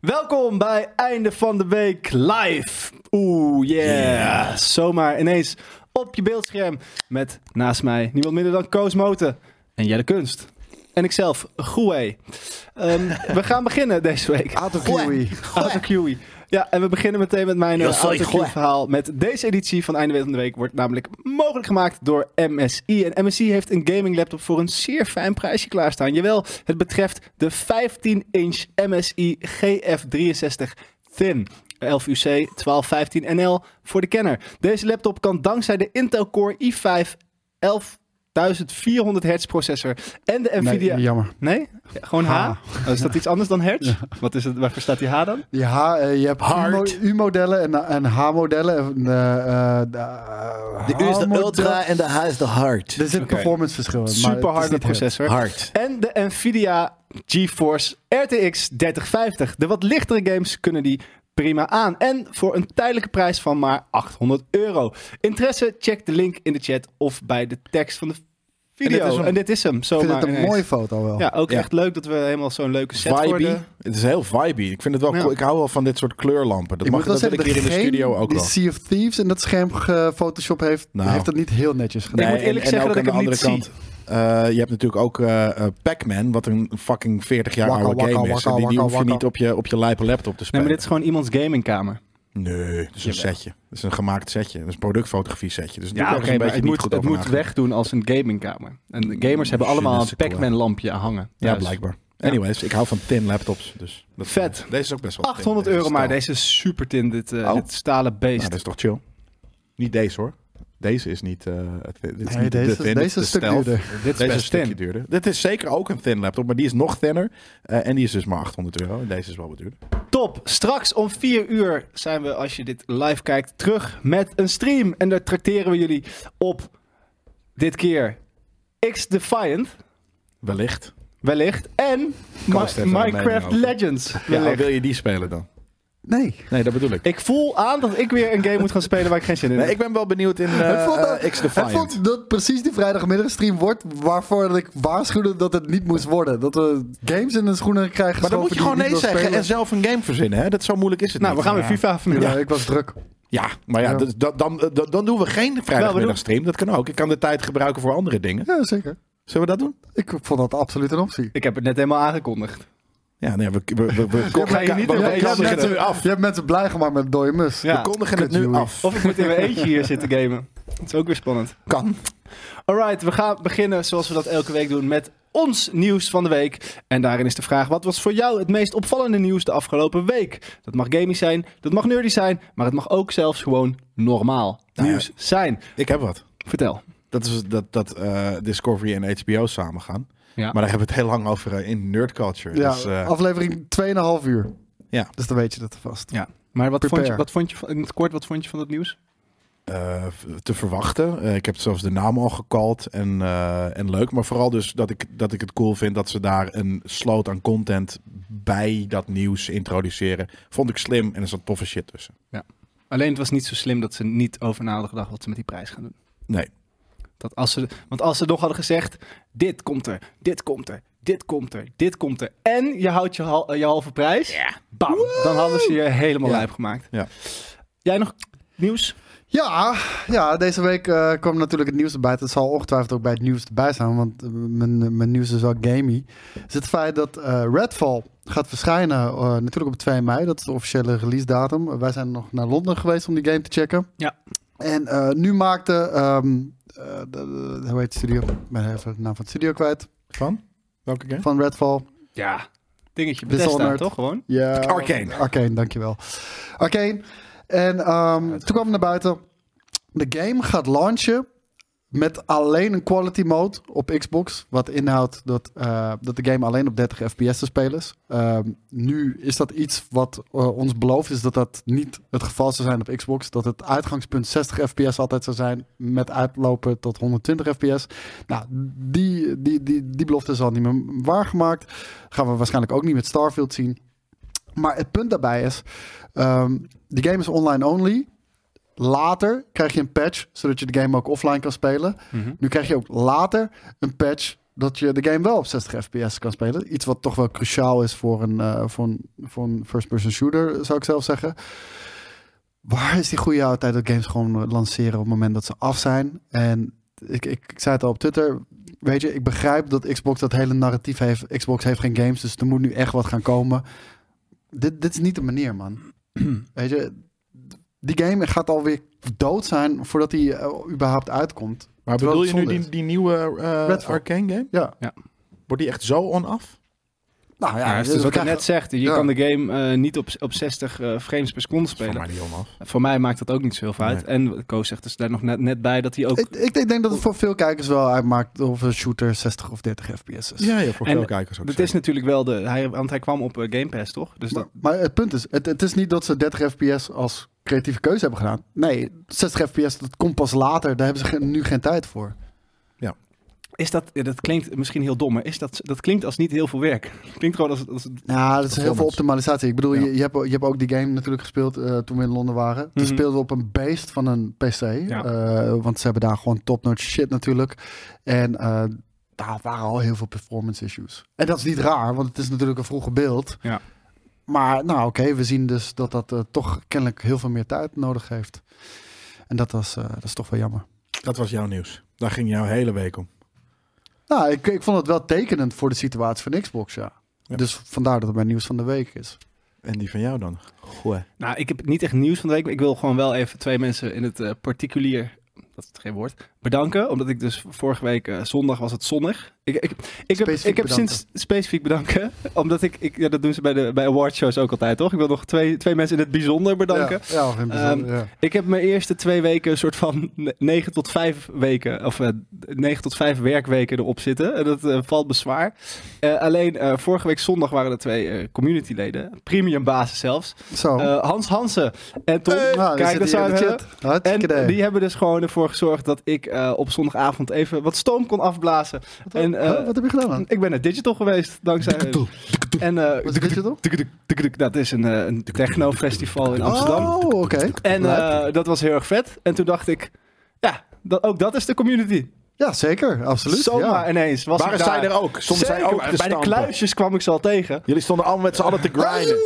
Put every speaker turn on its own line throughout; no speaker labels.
Welkom bij Einde van de Week live. Oeh, yeah. Zomaar ineens op je beeldscherm met naast mij niemand minder dan Koos Moten en Jelle Kunst. En ikzelf, Goeie. Ehm, we gaan beginnen deze week.
Autocuey.
AutoQE. Ja, en we beginnen meteen met mijn eh,
Yo soy
AutoQE
Juan.
verhaal. Met deze editie van Einde Week van de Week wordt namelijk mogelijk gemaakt door MSI. En MSI heeft een gaming laptop voor een zeer fijn prijsje klaarstaan. Jawel, het betreft de 15-inch MSI GF63 Thin. 11UC 1215NL voor de kenner. Deze laptop kan dankzij de Intel Core i5 11400 Hz processor en de Nvidia...
Nee, jammer.
Nee? Ja, gewoon H?
H.
Oh, is dat iets anders dan hertz? Wat is het, waarvoor staat die H dan?
Die H, eh, je hebt
Hard.
U- U-modellen en, en H-modellen. En, eh, eh, de
De U is de ultra en de H is de hard.
Er zit
Oké.
performance verschil in.
Super harde
proces.
processor.
Hard.
En de Nvidia GeForce RTX 3050. De wat lichtere games kunnen die prima aan. En voor een tijdelijke prijs van maar 800 euro. Interesse? Check de link in de chat of bij de tekst van de video.
En dit is hem.
En dit is hem.
Ik
Zomaar
vind het een
ineens.
mooie foto wel.
Ja, ook
Ja.
echt leuk dat we helemaal zo'n leuke set
Vibey.
worden.
Het is heel vibey. Ik vind het wel
eh, Ja.
cool. Ik hou wel van dit soort kleurlampen. Dat
Ik
mag
moet wel
dat wil ik
zeggen,
hier in de
degene
studio ook
die
wel.
Sea of Thieves en dat scherm gefotoshop heeft,
Nou.
heeft dat niet heel netjes gedaan.
moet eerlijk zeggen dat ik hem niet
eh, je hebt natuurlijk ook eh, eh, Pac-Man, wat een fucking 40 jaar
Wakka,
oude
wakka,
game is.
wakka,
En die, die
wakka,
hoef je
wakka.
niet op je, op je lijpe laptop te
Nee,
spelen.
maar dit is gewoon iemands gamingkamer.
Nee, het is een
Jawel.
setje. Het is een gemaakt setje. Het is een productfotografie setje. Dus
Ja, oké, maar het
niet
moet,
goed
het
over
moet
nagedacht.
wegdoen als een gamingkamer. En gamers hebben
Misschien
allemaal
is
een
het klaar.
Pac-Man lampje hangen.
Ja,
thuis.
blijkbaar.
Ja.
Anyways, ik hou van tin laptops. Dus dat-
Vet.
Deze is ook best wel tin,
800
deze
euro maar,
staal.
deze is super tin, dit, eh,
Oh.
dit stalen
Nou,
beest.
dat is toch chill? Niet deze hoor. Deze is niet. eh, het- dit is
Nee,
niet de
deze-
thin, dit
deze
de
is een stuk
stealth.
duurder.
dit
Deze is een stukje duurder. Dit is zeker ook een thin laptop, maar die is nog thinner. Eh, en die is dus maar 800 euro. En deze is wel wat duurder.
Top! Straks om 4 uur zijn we, als je dit live kijkt, terug met een stream. En daar tracteren we jullie op dit keer X Defiant,
Wellicht.
wellicht. En
Koos
Mi-
heeft er een mening
Minecraft
over.
Legends,
Ja,
wellicht.
wil je die spelen dan?
Nee.
Nee, dat bedoel ik.
Ik voel aan dat ik weer een game moet gaan spelen waar ik geen zin in heb.
Nee, ik ben wel benieuwd in eh,
Het voelt dat-
eh, X
Het
Defiant.
voelt dat precies die vrijdagmiddagstream wordt waarvoor ik waarschuwde dat het niet moest worden. Dat we games in de schoenen krijgen.
Maar dan moet je gewoon nee zeggen en
zo.
zelf een game verzinnen. Hè? Dat zo moeilijk is het
nou, we
niet.
gaan weer FIFA vanmiddag.
Ja, ik was druk.
Ja, maar ja,
Ja.
dus dat- dan, eh, dat- dan doen we geen vrijdagmiddagstream. Dat kan ook. Ik kan de tijd gebruiken voor andere dingen.
Ja, zeker.
Zullen we dat doen?
Ik vond dat absoluut een optie.
Ik heb het net helemaal aangekondigd.
Ja, nee, we, we, we, we,
ga je niet
we- we
in-
kondigen
Ja,
mensen-
het nu af.
je hebt mensen blij gemaakt met een dode mus.
Ja.
We kondigen het
Kut,
nu
Joey.
af.
Of ik moet in mijn eentje hier zitten gamen. Dat is ook weer spannend.
kan.
Alright, we gaan beginnen zoals we dat elke week doen met ons nieuws van de week. En daarin is de vraag: wat was voor jou het meest opvallende nieuws de afgelopen week? Dat mag gaming zijn, dat mag nerdy zijn, maar het mag ook zelfs gewoon normaal
Nou ja.
nieuws zijn.
Ik heb wat.
Vertel.
Dat is dat, dat eh, Discovery en HBO samen gaan.
Ja.
Maar daar hebben we het heel lang over eh, in nerd culture.
Ja,
Dus, eh,
aflevering 2,5 uur.
Ja.
Dus dan weet je dat vast.
Ja. Maar wat vond, je,
Prepare.
wat vond je van, in het kort, wat vond je van dat nieuws?
eh, te verwachten. Eh, ik heb zelfs de naam al gekald en, eh, en leuk. Maar vooral dus dat ik, dat ik het cool vind dat ze daar een sloot aan content bij dat nieuws introduceren. Vond ik slim en er zat toffe shit tussen.
Alleen het was niet zo slim dat ze niet over na hadden gedacht wat ze met die prijs gaan doen.
Nee.
Dat als ze, want als ze nog hadden gezegd: dit komt er, dit komt er, dit komt er, dit komt er. En je houdt je, hal- je halve prijs. Bam. Dan hadden ze je helemaal
Ja.
lijp gemaakt.
Ja.
Jij nog nieuws?
Ja, ja deze week eh, kwam natuurlijk het nieuws erbij. Het zal ongetwijfeld ook bij het nieuws erbij zijn, want eh, mijn, mijn nieuws is wel gamey. Is het feit dat eh, Redfall gaat verschijnen eh, natuurlijk op 2 mei. Dat is de officiële release datum. Eh, wij zijn nog naar Londen geweest om die game te checken.
Ja.
En eh, nu maakte, ehm, eh, de, de- hoe heet de studio? Ik ben even de naam van het studio kwijt.
Van? Welke game?
Van Redfall.
Ja. Dingetje. Bethesda,
Dishonored.
toch gewoon?
Ja.
Arcane.
Arcane, dankjewel. Arcane. En ehm, toen kwam het naar buiten. De game gaat launchen met alleen een quality mode op Xbox. Wat inhoudt dat, eh, dat de game alleen op 30 fps te spelen is. Ehm, nu is dat iets wat eh, ons beloofd is dat dat niet het geval zou zijn op Xbox. Dat het uitgangspunt 60 fps altijd zou zijn met uitlopen tot 120 fps. Nou, die, die, die, die belofte is al niet meer waargemaakt. Gaan we waarschijnlijk ook niet met Starfield zien. Maar het punt daarbij is, ehm, de game is online only. Later krijg je een patch, zodat je de game ook offline kan spelen. Nu krijg je ook later een patch dat je de game wel op 60 fps kan spelen. Iets wat toch wel cruciaal is voor een, eh, voor een, voor een first-person shooter, zou ik zelf zeggen. Waar is die goede oude tijd dat games gewoon lanceren op het moment dat ze af zijn? En ik, ik, ik zei het al op Twitter. Weet je, ik begrijp dat Xbox dat hele narratief heeft. Xbox heeft geen games, dus er moet nu echt wat gaan komen. Dit, dit is niet de manier, man. weet je, die game gaat alweer dood zijn voordat hij eh, überhaupt uitkomt.
Maar
Terwijl
bedoel je
het
nu die,
zonde is.
die nieuwe eh,
Redfall.
Arcane game?
Ja.
Wordt die echt zo on-af?
Nou
Ja,
ja,
dus wat ik
krijgen-
net zegt, je
Ja.
kan de game eh, niet op, op 60 eh, frames per seconde
Voor
spelen.
mij niet on-af.
Voor mij maakt dat ook niet zoveel uit. En Koos zegt dus daar nog net, net bij dat hij ook...
Ik, ik denk dat het voor veel kijkers wel uitmaakt of een shooter 60 of 30 fps is.
Ja, ja, voor
En
veel kijkers ook.
Het
zo.
is natuurlijk wel de... Hij, want hij kwam op eh, Game Pass, toch? Dus
Maar,
dat,
maar het punt is, het, het is niet dat ze 30 fps als creatieve keuze hebben gedaan. Nee, 60 fps, dat komt pas later. Daar hebben ze ge- nu geen tijd voor.
is dat, ja, dat klinkt misschien heel dom, maar is dat, dat klinkt als niet heel veel werk. Klinkt gewoon als... als
Ja, dat is heel veel
Performance.
optimalisatie. Ik bedoel,
Ja.
je, je, hebt, je hebt ook die game natuurlijk gespeeld eh, toen we in Londen waren. Toen
Mhm.
speelden we op een beest van een PC. eh, want ze hebben daar gewoon top-notch shit natuurlijk. En eh, daar waren al heel veel performance issues. En dat is niet raar, want het is natuurlijk een vroege beeld.
Ja.
Maar nou oké, we zien dus dat dat eh, toch kennelijk heel veel meer tijd nodig heeft. En dat, was, eh, dat is toch wel jammer.
Dat was jouw nieuws. Daar ging jouw hele week om.
Nou, ik, ik vond het wel tekenend voor de situatie van Xbox, ja.
Ja.
Dus vandaar dat het mijn nieuws van de week is.
En die van jou dan? Goh.
Nou, ik heb niet echt nieuws van de week. Maar ik wil gewoon wel even twee mensen in het eh, particulier... Dat is het geen woord. Bedanken. Omdat ik dus vorige week eh, zondag was het zonnig. Ik, ik, ik heb,
Specifiek
ik heb
bedanken.
sinds specifiek bedanken. Omdat ik... ik ja, dat doen ze bij, de, bij awardshows ook altijd, toch? Ik wil nog twee, twee mensen in het bijzonder bedanken.
Ja, ja, of in bijzonder,
Ehm,
ja.
Ik heb mijn eerste twee weken een soort van 9 tot 5 weken, of eh, 9 tot 5 werkweken erop zitten. En dat eh, valt bezwaar. Eh, alleen eh, vorige week zondag waren er twee eh, communityleden, premium bazen zelfs.
Zo.
Eh, Hans Hansen en Tom.
Nou,
Kijk, dat zijn we. En
Hartstikke idee.
die hebben dus gewoon ervoor gezorgd dat ik eh, op zondagavond even wat stoom kon afblazen.
Wat-
en, eh,
huh, wat heb je gedaan dan?
Ik ben naar digital geweest, dankzij hun. En eh,
Wat is dit dan?
tuk, tuk, tuk, tuk, dat is een, eh, een techno-festival in Amsterdam.
Oh, oké.
En
Leuk.
eh, dat was heel erg vet. En toen dacht ik, ja, dat, ook dat is de community.
ja, zeker. Absoluut.
Zomaar
ja.
ineens was
Waren
ik daar.
zij er ook? Soms
Zeker,
zijn ook
bij
te
de
stampen.
kluisjes kwam ik ze al tegen.
Jullie stonden allemaal met z'n allen te grinden.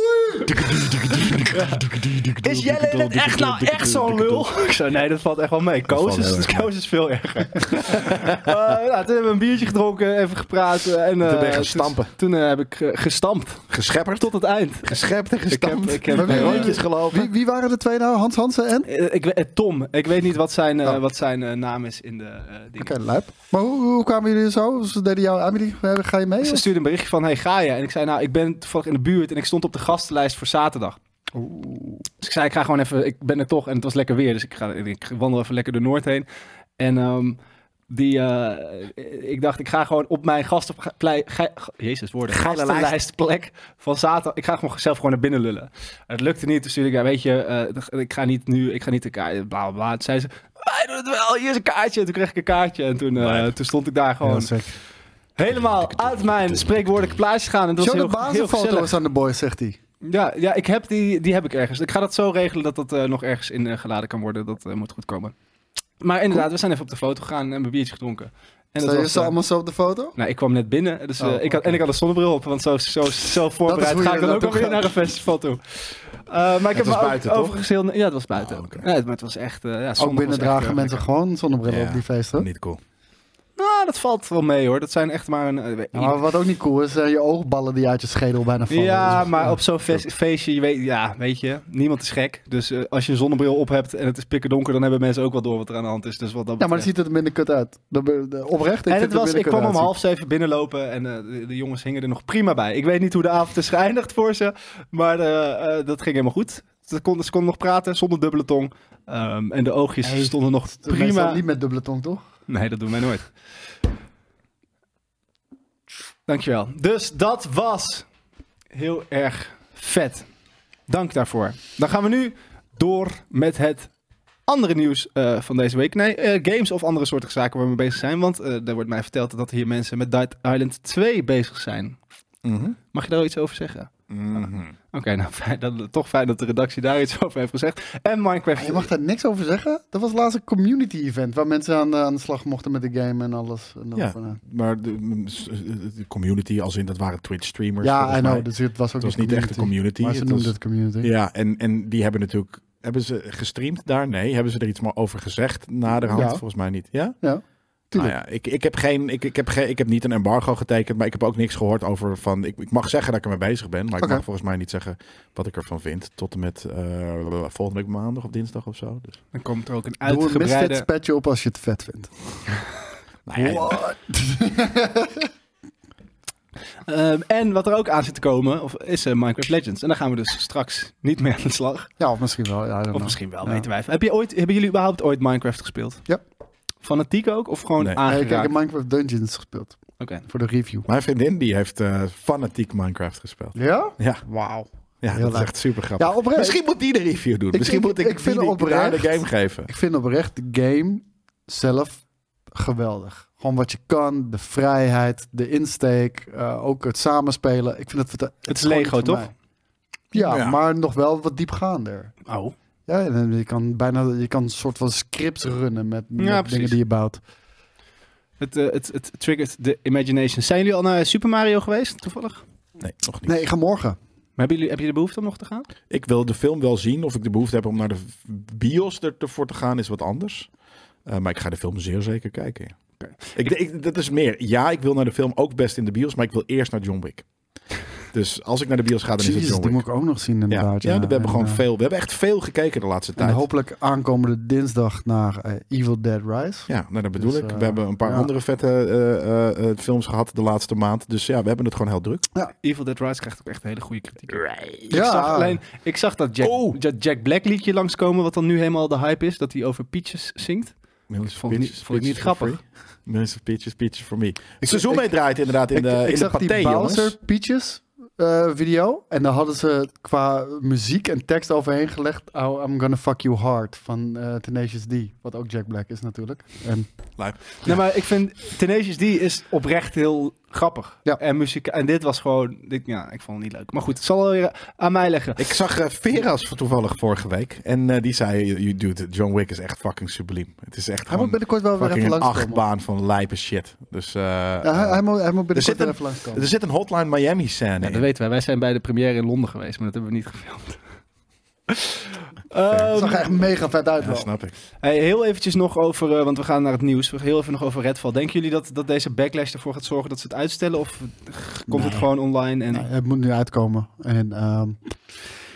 Is Jelle in het echt nou echt zo'n lul? Ik zei, nee, dat valt echt wel mee. Koos
valt heel
is,
erg mee.
Koos is veel erger. Eh, nou, toen hebben we een biertje gedronken, even gepraat. eh, En, eh,
ben je gaan stampen.
Toen eh, heb ik eh, gestampt,
Geschepperd?
tot het eind.
Geschept en
Ik heb,
gestampt?
ik heb,
Maar wie-
eh,
Rondjes gelopen?
Wie, wie waren de twee nou? Hans Hansen en?
eh, ik, weet- eh, Tom, ik weet niet wat zijn, eh,
Oh.
wat zijn eh, naam is in de eh dingen.
Oké, lijp. Maar hoe, hoe kwamen jullie zo? Ze deden jou aanbieding. eh, Ga je mee?
Ze
of?
stuurde een berichtje van, hey, ga je? En ik zei, nou, ik ben toevallig in de buurt en ik stond op de gastenlijst voor zaterdag. Dus ik zei, ik ga gewoon even, ik ben er toch en het was lekker weer. Dus ik, ga, ik wandel even lekker door Noord heen. En ehm, die, eh, ik dacht, ik ga gewoon op mijn gastenplei, ge- ge- jezus woorden, gastenlijstplek van zaterdag. Ik ga gewoon zelf gewoon naar binnen lullen. Het lukte niet, dus stuurde ik, ja, weet je, eh, ik ga niet nu, ik ga niet de kaart, bla bla bla. Toen zei ze, wij doen het wel, hier is een kaartje. En toen kreeg ik een kaartje en toen, eh, toen stond ik daar gewoon helemaal uit mijn spreekwoordelijke plaatje gaan. En dat was
Show de
heel, heel gezellig.
bazenfoto's aan de boys, zegt hij.
Ja, ja ik heb die, die heb ik ergens. Ik ga dat zo regelen dat dat eh, nog ergens in eh, geladen kan worden. Dat eh, moet goed komen. Maar inderdaad, we zijn even op de foto gegaan en hebben biertje gedronken. En dat
Zijn
was,
ze
eh,
allemaal zo op de foto?
nou, ik kwam net binnen dus, eh,
Oh,
ik had, en ik had een zonnebril op, want zo, zo, zo voorbereid
hoe je
ga ik dan
er
ook
naartoe
alweer
gaat.
naar een festival toe. Eh, maar ik heb
was
me ook
buiten, toch?
overigens heel... Ja, het was buiten.
Oh, oké.
Ja, maar het was echt... eh, ja, zondag
Ook binnen
was echt
dragen
heel
mensen
lekker.
gewoon zonnebrillen
Ja.
op die feesten.
Niet cool.
Nou, dat valt wel mee hoor. Dat zijn echt maar een... eh,
Ja, maar wat ook niet cool is, zijn je oogballen die uit je schedel bijna vallen.
Ja,
Dus-
maar op zo'n feest- feestje, je weet, ja, weet je, niemand is gek. Dus eh, als je een zonnebril op hebt en het is pikken donker, dan hebben mensen ook wel door wat er aan de hand is. Dus wat dat
Ja, maar dan
betreft-
ziet het er minder kut uit. Dan ben- de- Oprecht, ik
en
vind
het was,
er
ik
minder
kwam
kut
om
uitzien.
half zeven binnenlopen en eh, de, de jongens hingen er nog prima bij. Ik weet niet hoe de avond is geëindigd voor ze, maar eh, eh, dat ging helemaal goed. Ze konden, ze konden nog praten zonder dubbele tong. Ehm, en de oogjes
Hey,
stonden nog
Prima.
prima.
Niet met dubbele tong, toch?
Nee, dat doen wij nooit. Dankjewel. Dus dat was heel erg vet. Dank daarvoor. Dan gaan we nu door met het andere nieuws eh, van deze week. Nee, eh, games of andere soorten zaken waar we mee bezig zijn. Want eh, er wordt mij verteld dat hier mensen met Dead Island 2 bezig zijn.
Mhm.
Mag je daar iets over zeggen?
Mhm.
Oké, nou fijn, dat, toch fijn dat de redactie daar iets over heeft gezegd. En Minecraft.
Ah, Je mag daar niks over zeggen. Dat was laatst een community event waar mensen aan, de- aan de slag mochten met de game en alles. En dat
Ja.
soort dingen.
Maar de, eh, de community, als in dat waren Twitch streamers.
ja
volgens
I
mij.
know. Dus het was ook
Het was niet echt een community.
Maar ze
het
noemden
was-
het community.
Ja, en, en die hebben natuurlijk. Hebben ze gestreamd daar? Nee. Hebben ze er iets maar over gezegd naderhand?
Ja.
Volgens mij niet. Ja?
Ja,
Nou
tuurlijk.
ja, ik, ik, heb geen, ik, ik, heb geen, ik heb niet een embargo getekend, maar ik heb ook niks gehoord over van. Ik, ik mag zeggen dat ik ermee bezig ben, maar ik
Oké.
mag volgens mij niet zeggen wat ik ervan vind. Tot en met eh, volgende week maandag of dinsdag of zo. Dus,
Dan komt er ook een
Doe een misfit
uitgebreide.
petje op als je het vet vindt.
nou ja,
Ehm, en wat er ook aan zit te komen, of, is eh, Minecraft Legends. En daar gaan we dus straks niet mee aan de slag.
Ja, of misschien wel. Ja, I don't
Of
know.
misschien wel,
Ja.
weten wij. even. Heb je ooit, hebben jullie überhaupt ooit Minecraft gespeeld?
Ja. Eh,
Fanatiek ook? Of gewoon
Nee.
Nee, ik heb
aangeraakt?
Minecraft Dungeons gespeeld
Oké.
voor de review.
Mijn vriendin die heeft eh, fanatiek Minecraft gespeeld.
Ja?
Ja,
Wauw.
ja
Heel
dat is
leuk.
echt super grappig.
Ja, oprecht.
Misschien moet die de review doen.
Ik-
Misschien
ik-
moet ik,
ik vind
die die- daar de
oprecht-
game geven.
Ik vind oprecht de game zelf geweldig. Gewoon wat je kan, de vrijheid, de insteek, eh, ook het samenspelen. Ik vind dat het,
Het is
gewoon
Lego,
iets voor
toch?
mij. Ja,
Ja.
maar nog wel wat diepgaander.
Oh.
Ja, en eh, je kan bijna je kan een soort van scripts runnen met, met
precies.
dingen die je bouwt.
Het, eh, het, het triggert de imagination. Zijn jullie al naar Super Mario geweest, toevallig?
Nee, nog niet.
Nee, ik ga morgen.
Maar hebben jullie, heb je de behoefte om nog te gaan?
Ik wil de film wel zien. Of ik de behoefte heb om naar de v- bios er- ervoor te gaan, is wat anders. Eh, maar ik ga de film zeer zeker kijken. ja.
Oké.
Ik, ik- dat is meer. Ja, ik wil naar de film ook best in de bios, maar ik wil eerst naar John Wick. Dus als ik naar de bios ga, dan is
Jezus,
het
die
John
moet
Wick.
ik ook nog zien
Ja, ja,
inderdaad.
we hebben
En,
gewoon
eh,
veel. We hebben echt veel gekeken de laatste
En
tijd.
hopelijk aankomende dinsdag naar eh, Evil Dead Rise.
Ja, nou, dat bedoel
Dus,
ik.
eh,
we hebben een paar
ja.
andere vette eh, eh, eh, films gehad de laatste maand. Dus ja, we hebben het gewoon heel druk.
Evil Dead Rise krijgt ook echt hele goede kritiek.
Ja.
Ik zag alleen, ik zag dat Jack,
Oh.
dat Jack Black liedje langskomen, wat dan nu helemaal de hype is, dat hij over Peaches zingt.
Millions
Vond ik niet- vond ik niet
for
grappig.
free. Millions of Peaches, Peaches for me.
Ik-
Het seizoen mee draait inderdaad in
ik,
de,
ik
in de
zag
paté,
die Bowser
jongens.
Peaches eh, video. En daar hadden ze qua muziek en tekst overheen gelegd. Oh, I'm gonna fuck you hard van eh, Tenacious D. Wat ook Jack Black is natuurlijk. En,
Nee, maar ik vind Tenacious D is oprecht heel grappig.
Ja.
En, muziek, en dit was gewoon, dit, ja, ik vond het niet leuk. Maar goed, het zal wel weer aan mij leggen.
Ik zag eh, Veras toevallig vorige week. En eh, die zei, "You dude, John Wick is echt fucking subliem. Het is echt
hij moet
gewoon
binnenkort wel weer
fucking
even
een
langskomen.
achtbaan van lijpe shit. Dus eh,
Ja, hij, hij moet, hij moet
Er zit
binnenkort weer
een-
even langskomen.
er zit een Hotline Miami scène
Ja, dat
in.
weten wij. Wij zijn bij de première in Londen geweest, maar dat hebben we niet gefilmd. Ehm,
Het zag er echt mega vet uit.
Ja,
wel.
snap ik.
hey, heel eventjes nog over, eh, want we gaan naar het nieuws. We- Heel even nog over Redfall. Denken jullie dat, dat deze backlash ervoor gaat zorgen dat ze het uitstellen? Of komt het
Nee.
gewoon online? En...
Nee, het moet nu uitkomen. En, ehm,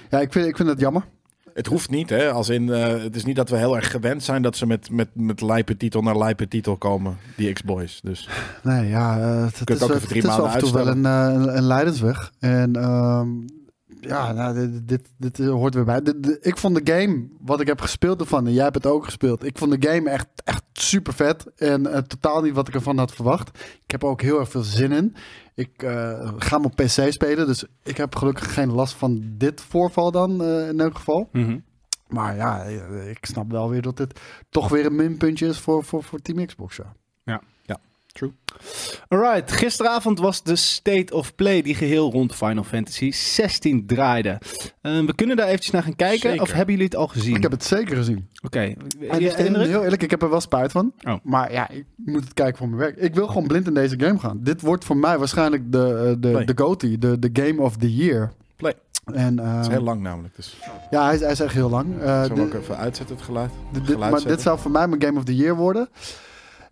ja, ik vind, ik vind het jammer.
Het hoeft niet, hè. Als in, eh, het is niet dat we heel erg gewend zijn dat ze met, met, met lijpe titel naar lijpe titel komen. Die X-Boys. Dus
Nee, ja, eh, het, het
kunt
is,
ook
wel-
even drie
het is wel af en
maanden
toe wel een, eh, een leidensweg. En ehm, ja, nou, dit, dit, dit hoort weer bij. Dit- dit- ik vond de game, wat ik heb gespeeld ervan, en jij hebt het ook gespeeld. Ik vond de game echt, echt super vet. En eh, totaal niet wat ik ervan had verwacht. Ik heb er ook heel erg veel zin in. Ik eh, ga hem op PC spelen, dus ik heb gelukkig geen last van dit voorval dan, eh, in elk geval.
Mhm.
Maar ja, eh, ik snap wel weer dat dit toch weer een minpuntje is voor, voor, voor Team Xbox. Ja.
Alright, gisteravond was de State of Play die geheel rond Final Fantasy 16 draaide. Eh, we kunnen daar eventjes naar gaan kijken.
Zeker.
Of hebben jullie het al gezien?
Hmm.
Ik heb het zeker gezien.
Oké,
En,
eerste
en
indruk?
heel eerlijk, ik heb er wel spijt van.
Oh.
Maar ja, ik moet het kijken voor mijn werk. Ik wil gewoon blind in deze game gaan. Dit wordt voor mij waarschijnlijk de, eh, de,
Play.
de GOTY, de, de Game of the Year.
Play.
En,
het
ehm,
is heel lang namelijk. Dus
Ja, hij is, hij is echt heel lang. Eh,
zullen we
dit-
ook even uitzetten het geluid?
dit- dit-
geluid
maar dit
zetten?
zou voor mij mijn Game of the Year worden.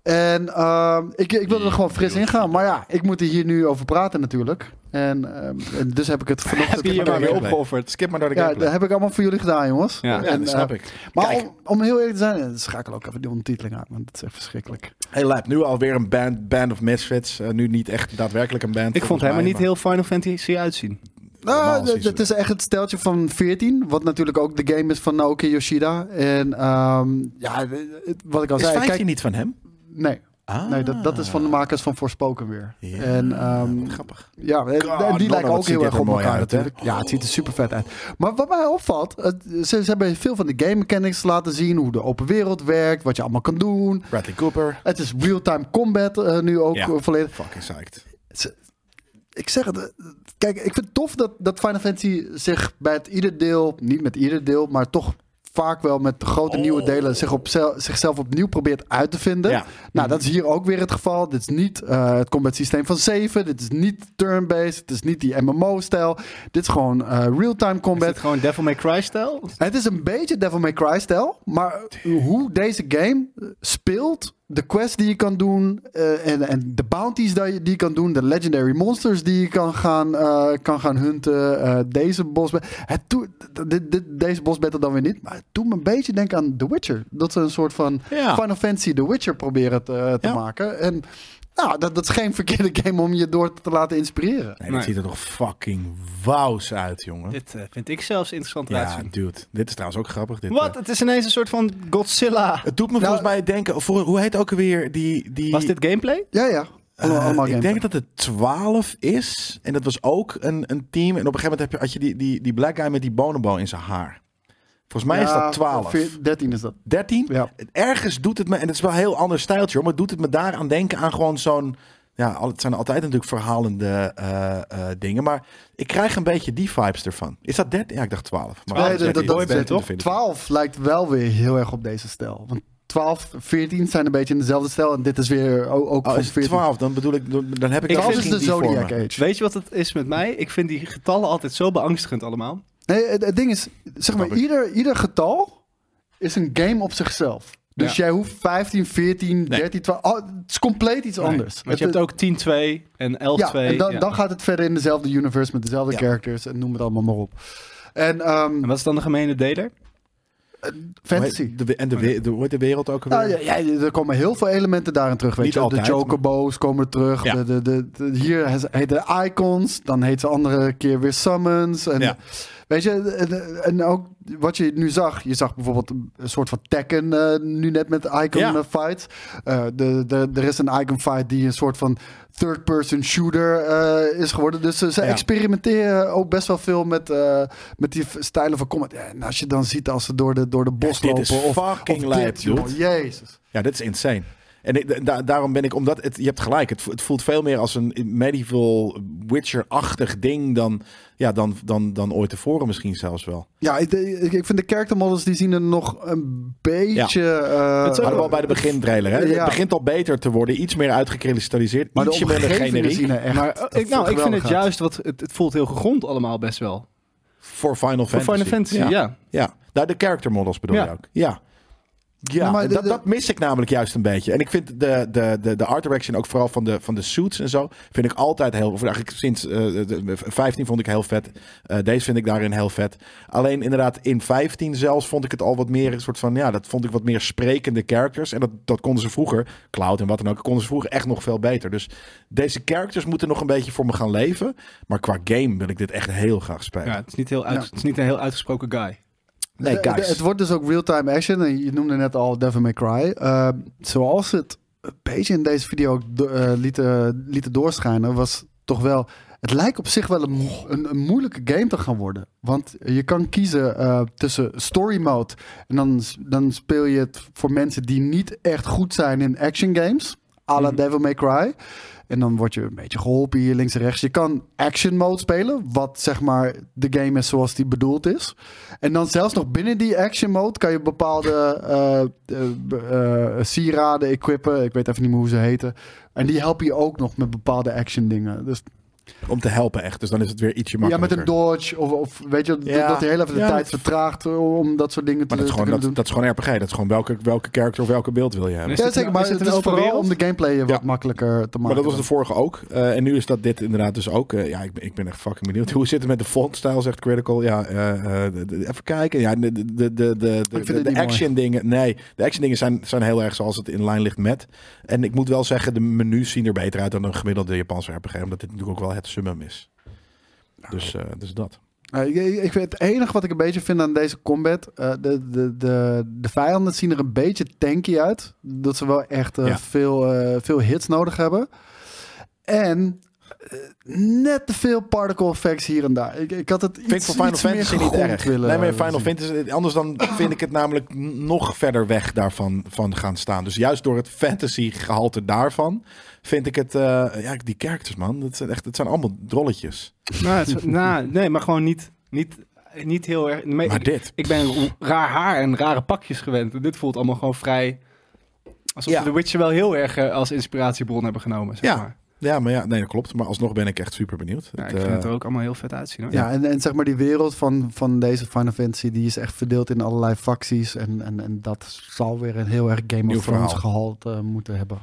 En ehm, ik, ik wil er gewoon fris in gaan. Maar ja, ik moet er hier nu over praten natuurlijk. En, ehm, en dus heb ik het
Heb
vanochtend...
je je maar weer
gameplay.
opgeofferd?
Skip maar naar de
ja,
gameplay.
dat heb ik allemaal voor jullie gedaan, jongens.
Ja.
Ja,
en,
dat snap
eh,
ik.
Maar
Kijk.
om, om heel eerlijk te zijn, eh, schakel ook even die ondertiteling aan, want het is echt verschrikkelijk.
Hey Lijp, nu alweer een band, band of misfits. Eh, nu niet echt daadwerkelijk een band.
Ik vond hem
volgens
er
mij,
niet heel Final Fantasy uitzien.
Normaal
Nou,
is die
d- het is echt het steltje van 14, wat natuurlijk ook de game is van Naoki Yoshida. En ehm, ja, het- wat ik al
Is
zei,
15
kijk,
niet van hem?
nee,
Ah.
nee dat, dat is van de makers van Forspoken weer.
Ja,
En ehm,
wat grappig.
ja, en-
God,
en die
Lord,
lijken
wat
ook
ziet
heel
dit
erg
er
op
mooi
elkaar
uit, hè?
natuurlijk. Ja, het ziet er super vet uit. Maar wat mij opvalt, het- ze, ze hebben veel van de game mechanics laten zien, hoe de open wereld werkt, wat je allemaal kan doen.
Bradley Cooper.
Het is real-time combat eh, nu ook
Ja.
eh, volledig.
Fucking psyched.
ik zeg het. eh, Kijk, ik vind het tof dat, dat Final Fantasy zich bij het ieder deel, niet met ieder deel, maar toch vaak wel met grote nieuwe delen zich op, zel- zichzelf opnieuw probeert uit te vinden.
Ja.
Nou, dat is hier ook weer het geval. Dit is niet eh, het combat systeem van 7. Dit is niet turn-based. Het is niet die MMO-stijl. Dit is gewoon eh, real-time
Is
combat.
het gewoon Devil May Cry-stijl?
Het is een beetje Devil May Cry-stijl, maar hoe deze game speelt, de quests die je kan doen, eh, en, en de bounties die je, die je kan doen, de legendary monsters die je kan gaan, eh, kan gaan hunten, eh, deze boss... Het doet- dit, dit, deze boss battle dan weer niet, maar het doet me een beetje denken aan The Witcher. Dat ze een soort van
Ja.
Final Fantasy The Witcher proberen te, te
Ja.
maken. En nou, dat, dat is geen verkeerde game om je door te laten inspireren.
Nee, dit
Nee.
ziet er toch fucking wauws uit, jongen.
Dit eh, vind ik zelfs interessant laten
ja,
zien.
dude. Dit is trouwens ook grappig. Dit,
Wat?
eh,
Het is ineens een soort van Godzilla.
het doet me volgens mij denken... Voor, hoe heet ook alweer die... die
Was dit gameplay?
Ja, ja. Allemaal,
Eh,
allemaal
ik
gameplay.
denk dat het 12 is. En dat was ook een, een team. En op een gegeven moment heb je, had je die, die, die black guy met die bonobo in zijn haar. Volgens mij is
Ja,
dat 12.
veer- 13 is dat.
13?
Ja.
Ergens doet het me, en het is wel een heel ander stijltje hoor, maar doet het me daaraan denken aan gewoon zo'n. Ja, al- het zijn altijd natuurlijk verhalende eh, eh, dingen, maar ik krijg een beetje die vibes ervan. Is dat 13? Ja, ik dacht 12. Maar
Nee,
anders denk
dat, dat,
ik
dat,
het 13
dat-
te vinden.
12 lijkt wel weer heel erg op deze stijl. Want 12, 14 zijn een beetje in dezelfde stijl. En dit is weer ook, ook
Oh,
van
is het
14.
12? Dan bedoel ik, dan dan heb ik,
Ik
ik
vind-
12
misschien
is dus de
die voor me.
Zodiac Age.
Weet je wat het is met mij? Ik vind die getallen altijd zo beangstigend allemaal.
Nee, het, het ding is, zeg maar,
ik.
ieder, ieder getal is een game op zichzelf. Dus jij hoeft 15, 14, 13, 12... oh, het is compleet iets anders.
Want je
Het-
hebt ook 10-2 en 11-2.
Ja, en dan,
ja.
dan gaat het verder in dezelfde universe met dezelfde
Ja.
characters en noem het allemaal maar op. En ehm,
En wat is dan de gemene deler?
fantasy.
De, en de, we- de, hoe heet de wereld ook alweer?
Nou, ja, ja, er komen heel veel elementen daarin terug. Weet
Niet
je, wel.
altijd,
de Chocobo's komen terug.
Ja.
De, de, de, de- hier he- heet de Icons. Dan heet ze andere keer weer Summons. En,
Ja.
Weet je, de- de- en ook wat je nu zag. Je zag bijvoorbeeld een soort van Tekken eh, nu net met Icon
Ja.
eh, fights. Eh, de, de, er is een Icon fight die een soort van third-person shooter eh, is geworden. Dus ze, ze
Ja.
experimenteren ook best wel veel met, eh, met die v- stijlen van combat. Ja, en als je dan ziet als ze door de, door de bos
dit
lopen.
is
of,
fucking
of dit,
lijp, dude.
joh. Jezus.
Ja, dit is insane. En ik- da- daarom ben ik, omdat het, je hebt gelijk, het, vo- het voelt veel meer als een medieval Witcher-achtig ding dan, ja, dan, dan, dan ooit tevoren misschien zelfs wel.
Ja, ik, ik, ik vind de character models die zien er nog een beetje. eh,
Het is ook
Hadden we al bij de begintrailer. Hè?
Ja.
Het begint al beter te worden, iets meer uitgekristalliseerd,
maar de
ietsje minder
omgevingen
generiek.
zien er echt.
maar eh, ik, nou, ik vind het
geweldig uit.
juist wat. Het, het voelt heel gegrond allemaal best wel.
Voor Final
Voor
Fantasy.
Final Fantasy, ja.
Ja, nou, de character models bedoel
Ja.
je ook. Ja. Ja,
Ja, Nou, maar
en
de-
dat,
de-
dat mis ik namelijk juist een beetje. En ik vind de, de, de, de art direction ook vooral van de, van de suits en zo... vind ik altijd heel... Of eigenlijk sinds eh, de- 15 vond ik heel vet. Eh, deze vind ik daarin heel vet. Alleen inderdaad in 15 zelfs vond ik het al wat meer... een soort van, ja, dat vond ik wat meer sprekende characters. En dat, dat konden ze vroeger, Cloud en wat dan ook... konden ze vroeger echt nog veel beter. Dus deze characters moeten nog een beetje voor me gaan leven. Maar qua game wil ik dit echt heel graag spelen.
Ja, het, is niet heel uit,
Ja.
het is niet een heel uitgesproken guy.
Nee,
De- de-
guys.
het wordt dus ook real-time action. En je noemde net al Devil May Cry. Eh, zoals het een beetje in deze video ook do- eh, lieten, lieten doorschijnen, was toch wel. Het lijkt op zich wel een, mo- een, een moeilijke game te gaan worden. Want je kan kiezen eh, tussen story mode. En dan, s- dan speel je het voor mensen die niet echt goed zijn in action games. à
Mhm.
la Devil May Cry. En dan word je een beetje geholpen hier links en rechts. Je kan action mode spelen, wat zeg maar de game is zoals die bedoeld is. En dan zelfs nog binnen die action mode kan je bepaalde eh, eh, be- eh, sieraden equippen. Ik weet even niet meer hoe ze heten. En die helpen je ook nog met bepaalde action dingen. Dus,
Om te helpen echt. Dus dan is het weer ietsje
ja, met
makkelijker.
een dodge of, of weet je, dat-
Ja.
dat je heel even de
Ja,
tijd
dat-
vertraagt om dat soort dingen te,
Maar dat is,
te
gewoon,
kunnen
dat,
doen.
dat is gewoon RPG. Dat is gewoon welke, welke character of welke beeld wil je hebben.
Is
ja,
het
zeker,
een-
maar
is het
het
een
is
open
vooral
wereld?
om de gameplay wat
Ja.
makkelijker te maken.
Maar dat was de vorige ook. Eh, en nu is dat dit inderdaad dus ook. Eh, ja, ik, ben- ik ben echt fucking benieuwd. Hoe zit het met de fontstijl, zegt Critical. Ja, eh, eh, de- de- even kijken. Ja, de, de, de, de, de,
vind
de-
het
de
niet
action dingen. Nee, de action dingen zijn, zijn heel erg zoals het in lijn ligt met. En ik moet wel zeggen, de menus zien er beter uit dan een gemiddelde Japanse RPG. Omdat dit natuurlijk ook wel het summum is. Dus, eh, dus dat.
Eh, ik, ik- ik weet, het enige wat ik een beetje vind aan deze combat, eh, de, de, de, de vijanden zien er een beetje tanky uit. Dat ze wel echt eh,
Ja.
veel, eh, veel hits nodig hebben. En net te veel particle effects hier en daar. Ik, ik had het
Vind ik
iets,
voor Final
iets meer
Fantasy niet
gegrond
erg.
willen eh,
nee, maar in Final
zien.
Fantasy, anders dan vind ik het namelijk n- nog verder weg daarvan van gaan staan. Dus juist door het fantasy gehalte daarvan vind ik het, eh, ja, die characters man, dat zijn echt, dat zijn allemaal drolletjes.
Nou, het is- nou, nee, maar gewoon niet, niet, niet heel erg. Maar
Maar
ik,
dit,
ik ben raar haar en rare pakjes gewend. En dit voelt allemaal gewoon vrij. Alsof
Ja.
ze The Witcher wel heel erg eh, als inspiratiebron hebben genomen. Zeg
Ja.
maar.
ja, maar ja, nee, dat klopt. Maar alsnog ben ik echt super benieuwd.
ja,
Het,
ik vind
eh,
het er ook allemaal heel vet uitzien. Hoor.
Ja, en, en zeg maar die wereld van, van deze Final Fantasy... die is echt verdeeld in allerlei facties. En, en, en dat zal weer een heel erg Game
Nieuw
of Thrones
verhaal.
gehalte moeten hebben.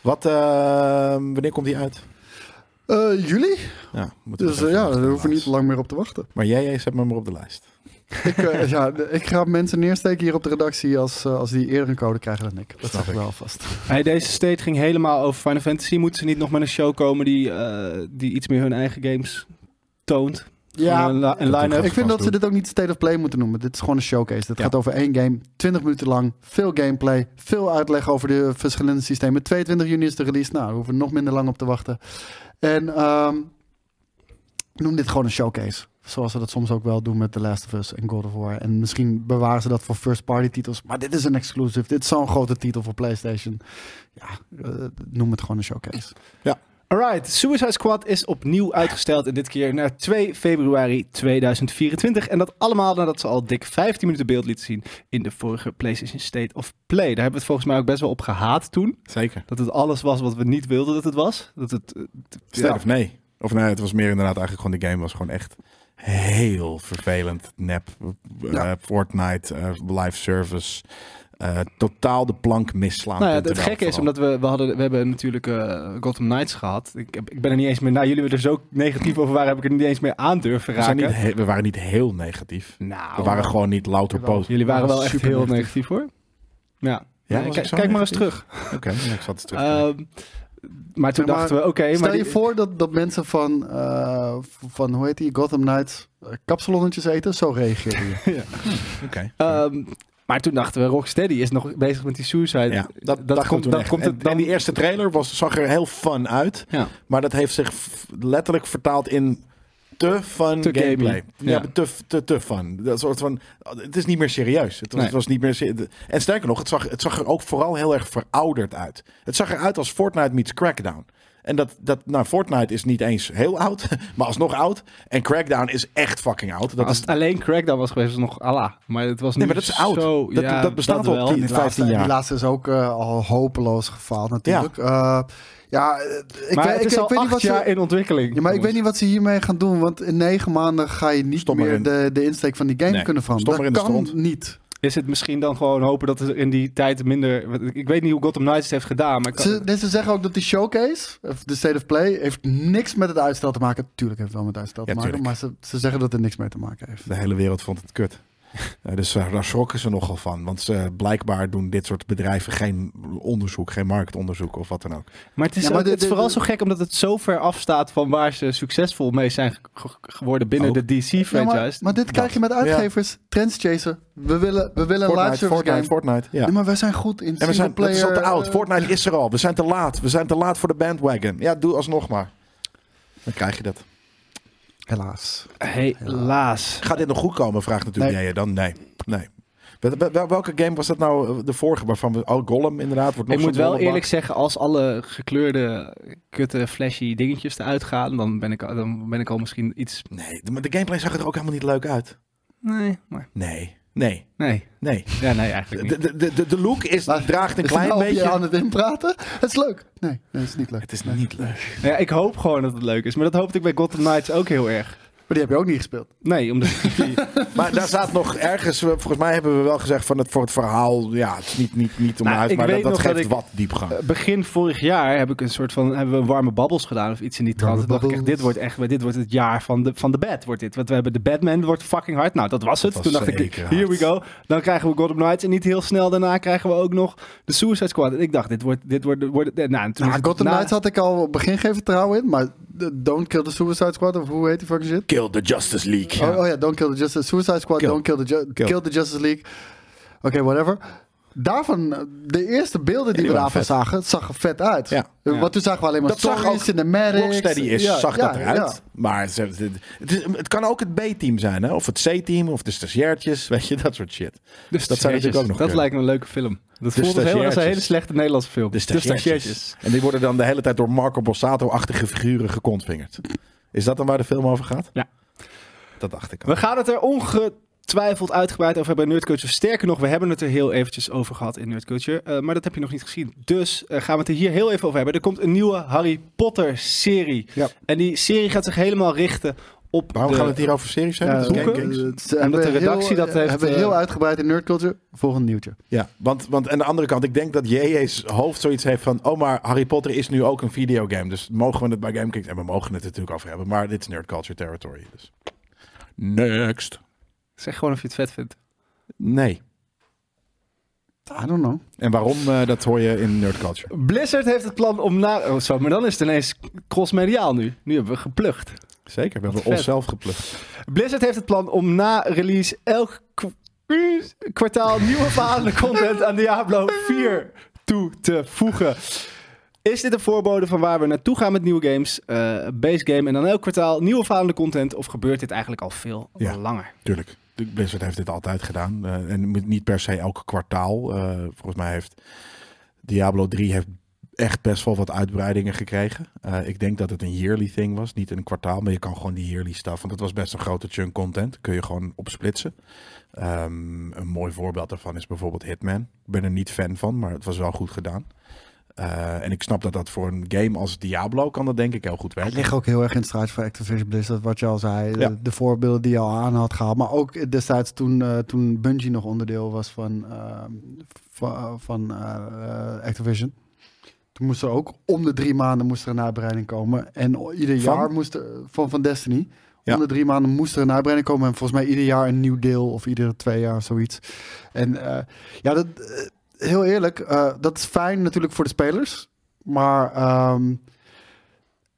wat, eh, wanneer komt die uit?
Eh jullie?
Ja, moeten we
Dus
nog even
eh, ja,
wachten,
daar hoeven we
helaas.
niet lang meer op te wachten.
Maar jij, jij zet me maar op de lijst.
ik, eh, ja, de- ik ga mensen neersteken hier op de redactie als, eh, als die eerder een code krijgen dan ik.
Snap
Dat zeg ik
ik.
wel alvast.
Hey, deze state ging helemaal over Final Fantasy. Moeten ze niet nog met een show komen die, eh, die iets meer hun eigen games toont? Gewoon een, la- een
Dat
line-up.
doe
Ik vind dat ze
doen.
dit ook niet State of Play moeten noemen. Dit is gewoon een showcase. Dit
Ja.
gaat over één game, 20 minuten lang, veel gameplay, veel uitleg over de verschillende systemen. 22 juni is de release. Nou, daar hoeven we nog minder lang op te wachten. En ehm, noem dit gewoon een showcase. Zoals ze dat soms ook wel doen met The Last of Us en God of War. En misschien bewaren ze dat voor first-party titels. Maar dit is een exclusive. Dit is zo'n grote titel voor PlayStation. Ja, eh, noem het gewoon een showcase.
Alright, Suicide Squad is opnieuw uitgesteld en dit keer naar 2 februari 2024. En dat allemaal nadat ze al dik 15 minuten beeld liet zien in de vorige PlayStation State of Play. Daar hebben we het volgens mij ook best wel op gehaat toen.
Zeker.
Dat het alles was wat we niet wilden dat het was. Dat het, eh,
State
Ja.
of nee. Of nee, het was meer inderdaad eigenlijk gewoon de game was gewoon echt heel vervelend. Nep, eh,
Ja.
Fortnite, eh, live service. eh, totaal de plank misslaan.
nou ja, het,
Punten wel
gekke is
vooral.
omdat we, we, hadden, we hebben natuurlijk eh, Gotham Knights gehad. Ik, heb- ik ben er niet eens meer, nou jullie er zo negatief over waren, heb ik er niet eens meer aan durven
we, zijn
raken.
niet he- we waren niet heel negatief.
Nou,
We waren gewoon niet louter
Jawel.
poot.
jullie waren
Ja,
wel echt
super
heel negatief,
negatief.
hoor. Ja,
Ja,
Nee,
was
kijk,
ik zo
kijk maar eens
negatief?
terug.
Oké, ja, ik zat het terug.
Ehm, maar toen
Ja, maar
dachten we, oké, maar
Stel je
die-
voor dat, dat mensen van, eh, van, hoe heet die, Gotham Knights, eh, kapsalonnetjes eten. Zo reageer je.
Oké.
ehm, maar toen dachten we, Rocksteady is nog bezig met die Suicide.
Ja, dat, dat,
dat
komt,
komt, dat komt
en,
het dan
en die eerste trailer was, zag er heel fun uit.
Ja.
Maar dat heeft zich f- letterlijk vertaald in te fun
Te gamey.
gameplay. Ja,
Ja.
maar te, te, te fun. Dat soort van, het is niet meer serieus. Het was,
Nee.
het was niet meer se- en sterker nog, het zag, het zag er ook vooral heel erg verouderd uit. Het zag eruit als Fortnite meets Crackdown. En dat, dat, nou, Fortnite is niet eens heel oud, maar alsnog oud. En Crackdown is echt fucking oud. Dat
als
is,
het alleen Crackdown was geweest, was het nog Allah. Maar het was nu
nee, maar dat is oud.
zo-
dat,
ja,
dat bestaat al
wel. Nou,
10, 15
Die
jaar.
laatste is ook eh, al hopeloos gefaald natuurlijk. Ja, ja eh, ik,
maar
weet-
het
ik,
is
ik
al
weet niet
acht
wat
jaar
ze,
in ontwikkeling.
ja, maar ik weet niet wat ze hiermee gaan doen. Want in negen maanden ga je niet
Stop maar
meer
in.
de, de insteek van die game
Nee,
kunnen
stop maar
veranderen. Dat
in de
kan
stront.
niet.
Is het misschien dan gewoon hopen dat er in die tijd minder... want Ik weet niet hoe Gotham Knights het heeft gedaan, maar... ik-
Ze, dus ze zeggen ook dat die showcase, of de State of Play, heeft niks met het uitstel te maken. Tuurlijk heeft het wel met het uitstel
Ja,
te maken.
tuurlijk.
Maar ze, ze zeggen dat het niks mee te maken heeft.
De hele wereld vond het kut. Eh, dus eh, daar schrokken ze nogal van. Want ze, blijkbaar doen dit soort bedrijven geen onderzoek, geen marktonderzoek of wat dan ook.
Maar het is,
Ja, maar
ook-
de-
het is
de-
vooral
de-
zo gek omdat het zo ver afstaat van waar ze succesvol mee zijn ge- ge- geworden binnen
Ook.
de
Ja,
DC-franchise.
maar, maar dit krijg je met uitgevers, trends chasen. We willen, we willen een
Fortnite,
live service
Fortnite,
game.
Fortnite. Ja.
Nee, maar wij zijn goed in
En we zijn, dat
player.
is al te oud. Fortnite is er al. We zijn te laat. We zijn te laat voor de bandwagon. Ja, doe alsnog maar. Dan krijg je dat.
Helaas.
Helaas.
Gaat dit nog goed komen? Vraagt natuurlijk
Nee.
jij je dan. Nee. nee. Wel- wel- wel- Welke game was dat nou eh, de vorige waarvan we... Oh, Gollum inderdaad. Wordt nog
Ik moet
zo'n
wel
rollenbak.
eerlijk zeggen, als alle gekleurde, kutte, flashy dingetjes eruit gaan, dan ben ik, al- dan ben ik al misschien iets...
Nee, de- maar de gameplay zag er ook helemaal niet leuk uit.
Nee, maar...
Nee. Nee.
Nee.
Nee.
Ja, nee, eigenlijk niet.
De, de, de, de look is,
Maar-
draagt een
Is het
klein
nou op je
beetje...
aan het inpraten? Het is leuk. Nee, nee, het is niet leuk.
Het is niet leuk.
Nou ja, ik hoop gewoon dat het leuk is, maar dat hoopte ik bij Gotham Knights ook heel erg.
Maar die heb je ook niet gespeeld.
Nee, omdat... die-
Maar daar staat nog ergens, eh, volgens mij hebben we wel gezegd van het voor het verhaal, ja, het is niet, niet, niet om
Nou,
naar uit,
ik
maar dat,
weet
dat
nog
geeft
dat ik-
wat diepgang.
Begin vorig jaar heb ik een soort van, hebben we een warme babbels gedaan of iets in die trant.
Warme
Toen dacht ik echt, dit
babbels.
wordt echt, dit wordt het jaar van de, van de bad, wordt dit. Want we hebben de Batman, wordt fucking hard. Nou, dat was het.
was
Toen dacht ik,
zeker
here we
hard.
go. Dan krijgen we Gotham Knights en niet heel snel daarna krijgen we ook nog de Suicide Squad. En ik dacht, dit wordt, dit wordt, dit wordt nou, en toen is
Nou,
het
Gotham
na-
Knights had ik al op het begin geen vertrouwen in. Maar de Don't Kill the Suicide Squad, of hoe heet die fucking shit?
Kill the Justice League.
Oh, oh ja, Don't Kill the Justice Suicide Squad,
Kill.
Don't Kill the, Ju-
Kill.
Kill the Justice League. Oké, whatever. Daarvan, eh, de eerste beelden
die
die we
waren vet.
daarvan zagen, het zag er vet uit.
Ja.
Eh,
Ja.
Want toen zagen we alleen maar
Dat zag
stories,
ook
cinematics.
Rocksteady is,
Ja,
zag
ja,
dat eruit.
ja.
Maar ze, het, het is- het kan ook het B-team zijn, hè? of het C-team, of de stagiairtjes, weet je, dat soort shit.
Dus
Dat zou natuurlijk ook nog
Dat
kunnen.
lijkt me een leuke film. Dat voelt als heel erg als een
stagiairtjes.
hele slechte Nederlandse film.
De stagiairtjes.
stagiairtjes.
En die worden dan de hele tijd door Marco Borsato-achtige figuren gekontvingerd. Is dat dan waar de film over gaat?
Ja.
Dat dacht ik al.
We gaan het er ongetwijfeld uitgebreid over hebben in Nerd Culture. Sterker nog, we hebben het er heel eventjes over gehad in Nerd Culture. eh, maar dat heb je nog niet gezien. Dus eh, gaan we het er hier heel even over hebben. Er komt een nieuwe Harry Potter serie.
Ja.
En die serie gaat zich helemaal richten op
Waarom
de-
gaan we het hier over series
Ja,
hebben? Dat is
boeken?
Game Kings.
eh, ze
Omdat
hebben
de redactie
heel,
dat
eh,
heeft,
Hebben
eh,
heel uitgebreid in nerdculture. Volgende nieuwtje.
Ja, want, want aan de andere kant, ik denk dat JJ's hoofd zoiets heeft van... Oh, maar Harry Potter is nu ook een videogame. Dus mogen we het bij GameKings... En we mogen het er natuurlijk over hebben. Maar dit is nerd culture territory. Dus. Next.
Zeg gewoon of je het vet vindt.
Nee.
I don't know.
En waarom, eh, dat hoor je in nerd culture.
Blizzard heeft het plan om naar... Oh, zo, maar dan is het ineens crossmediaal nu. Nu hebben we geplucht.
Zeker, we
Wat
hebben
vet.
onszelf geplukt.
Blizzard heeft het plan om na release elk k- kwartaal nieuwe verhalende content aan Diablo 4 toe te voegen. Is dit een voorbode van waar we naartoe gaan met nieuwe games, eh, base game en dan elk kwartaal nieuwe verhalende content? Of gebeurt dit eigenlijk al veel
Ja.
langer?
Tuurlijk. De Blizzard heeft dit altijd gedaan. Eh, en moet niet per se elke kwartaal. Eh, volgens mij heeft Diablo 3 heeft echt best wel wat uitbreidingen gekregen. Eh, ik denk dat het een yearly thing was. Niet een kwartaal, maar je kan gewoon die yearly stuff. Want dat was best een grote chunk content. Kun je gewoon opsplitsen. Ehm, een mooi voorbeeld daarvan is bijvoorbeeld Hitman. Ik ben er niet fan van, maar het was wel goed gedaan. Eh, en ik snap dat dat voor een game als Diablo kan dat denk ik heel goed
Het
werken.
ligt ook heel erg in het straatje van Activision Blizzard, wat je al zei.
Ja.
De, de voorbeelden die je al aan had gehaald. Maar ook destijds toen, eh, toen Bungie nog onderdeel was van, eh, van, van, eh, Activision. Toen moest er ook om de drie maanden moest er een uitbreiding komen. En o- ieder
Van?
jaar moest er, van, van Destiny.
Ja.
Om de drie maanden moest er een uitbreiding komen. En volgens mij ieder jaar een nieuw deel of iedere twee jaar zoiets. En eh, ja, dat, eh, heel eerlijk, eh, dat is fijn natuurlijk voor de spelers. Maar ehm,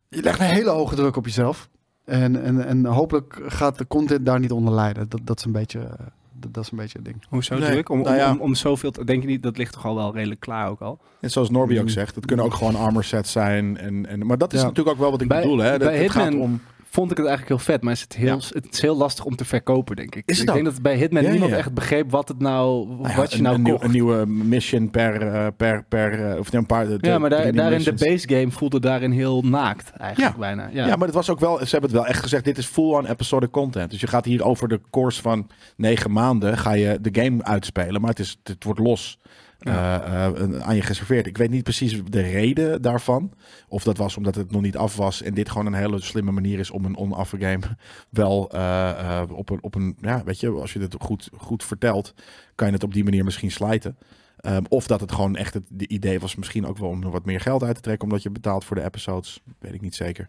je legt een hele hoge druk op jezelf. En, en, en hopelijk gaat de content daar niet onder lijden. Dat, dat, is, een beetje, eh, dat, dat is een beetje het ding.
Hoezo
Nee,
druk? Om, om,
nou ja.
om, om zoveel te- denk je niet, dat ligt toch al wel redelijk klaar ook al?
En zoals Norby ook
Mm.
zegt, het kunnen ook gewoon armor sets zijn. En, en, maar dat is
Ja.
natuurlijk ook wel wat ik
Bij-
bedoel. Hè? Dat,
bij
het gaat
Hitman-
om...
Vond ik het eigenlijk heel vet, maar is het, heel,
Ja.
het is heel lastig om te verkopen, denk ik.
Is
ik
het
denk
ook?
dat bij Hitman
Ja, ja,
niemand
ja.
echt begreep wat, het nou,
Nou ja,
wat je
een,
nou
een,
kocht.
nieuw- een nieuwe mission per, eh, per, per eh, of nee, een paar. de- de
ja, maar daar,
drie
daarin de
missions.
base game voelde daarin heel naakt eigenlijk
Ja.
bijna. Ja.
Ja. maar het was ook wel. Ze hebben het wel echt gezegd. Dit is full-on episodic content. Dus je gaat hier over de course van negen maanden ga je de game uitspelen, maar het is, het wordt los. eh, eh, een- aan je geserveerd. Ik weet niet precies de reden daarvan. Of dat was omdat het nog niet af was. En dit gewoon een hele slimme manier is om een onaffe game wel eh, eh, op, een, op een. Ja, weet je, als je dit goed, goed vertelt, kan je het op die manier misschien slijten. Ehm, of dat het gewoon echt het de idee was, misschien ook wel om er wat meer geld uit te trekken, omdat je betaalt voor de episodes. Weet ik niet zeker.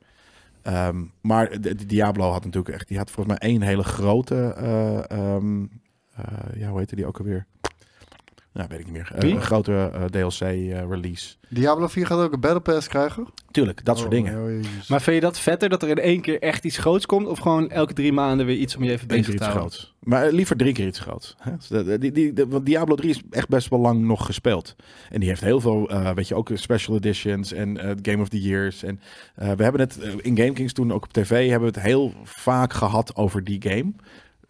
Ehm, maar de, de Diablo had natuurlijk echt, die had volgens mij één hele grote, eh, ehm, eh, ja, hoe heette die ook alweer? Nou, weet ik niet meer. Eh,
Wie?
een grote eh, DLC-release.
Diablo 4 gaat ook een Battle Pass krijgen.
Tuurlijk, dat soort
Oh,
dingen.
oh, jezus.
Maar vind je dat vetter dat er in één keer echt iets groots komt? Of gewoon elke drie maanden weer iets om je even
Eén
bezig
keer
te
iets
houden?
groots. Maar eh, liever drie keer iets groots. Hè? Dus de- de- die, die, de- want Diablo 3 is echt best wel lang nog gespeeld. En die heeft heel veel, eh, weet je, ook special editions en eh, Game of the Years. En eh, we hebben het eh, in GameKings toen ook op tv hebben we het heel vaak gehad over die game.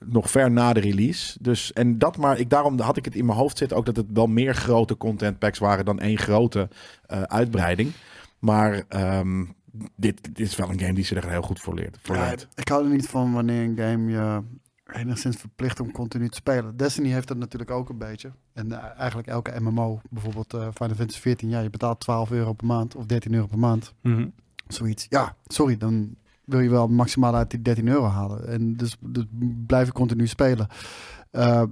Nog ver na de release. Dus en dat maar, ik, daarom had ik het in mijn hoofd zitten ook dat het wel meer grote content packs waren dan één grote eh, uitbreiding. Maar ehm, dit, dit is wel een game die ze er heel goed voor leert. Voor
Ja,
leidt.
ik hou er niet van wanneer een game je enigszins verplicht om continu te spelen. Destiny heeft dat natuurlijk ook een beetje. En eh, eigenlijk elke MMO, bijvoorbeeld eh Final Fantasy 14, ja, je betaalt 12 euro per maand of 13 euro per maand.
Mhm.
Zoiets. Ja, sorry, dan wil je wel maximaal uit die 13 euro halen. En dus, dus blijf ik continu spelen. Eh,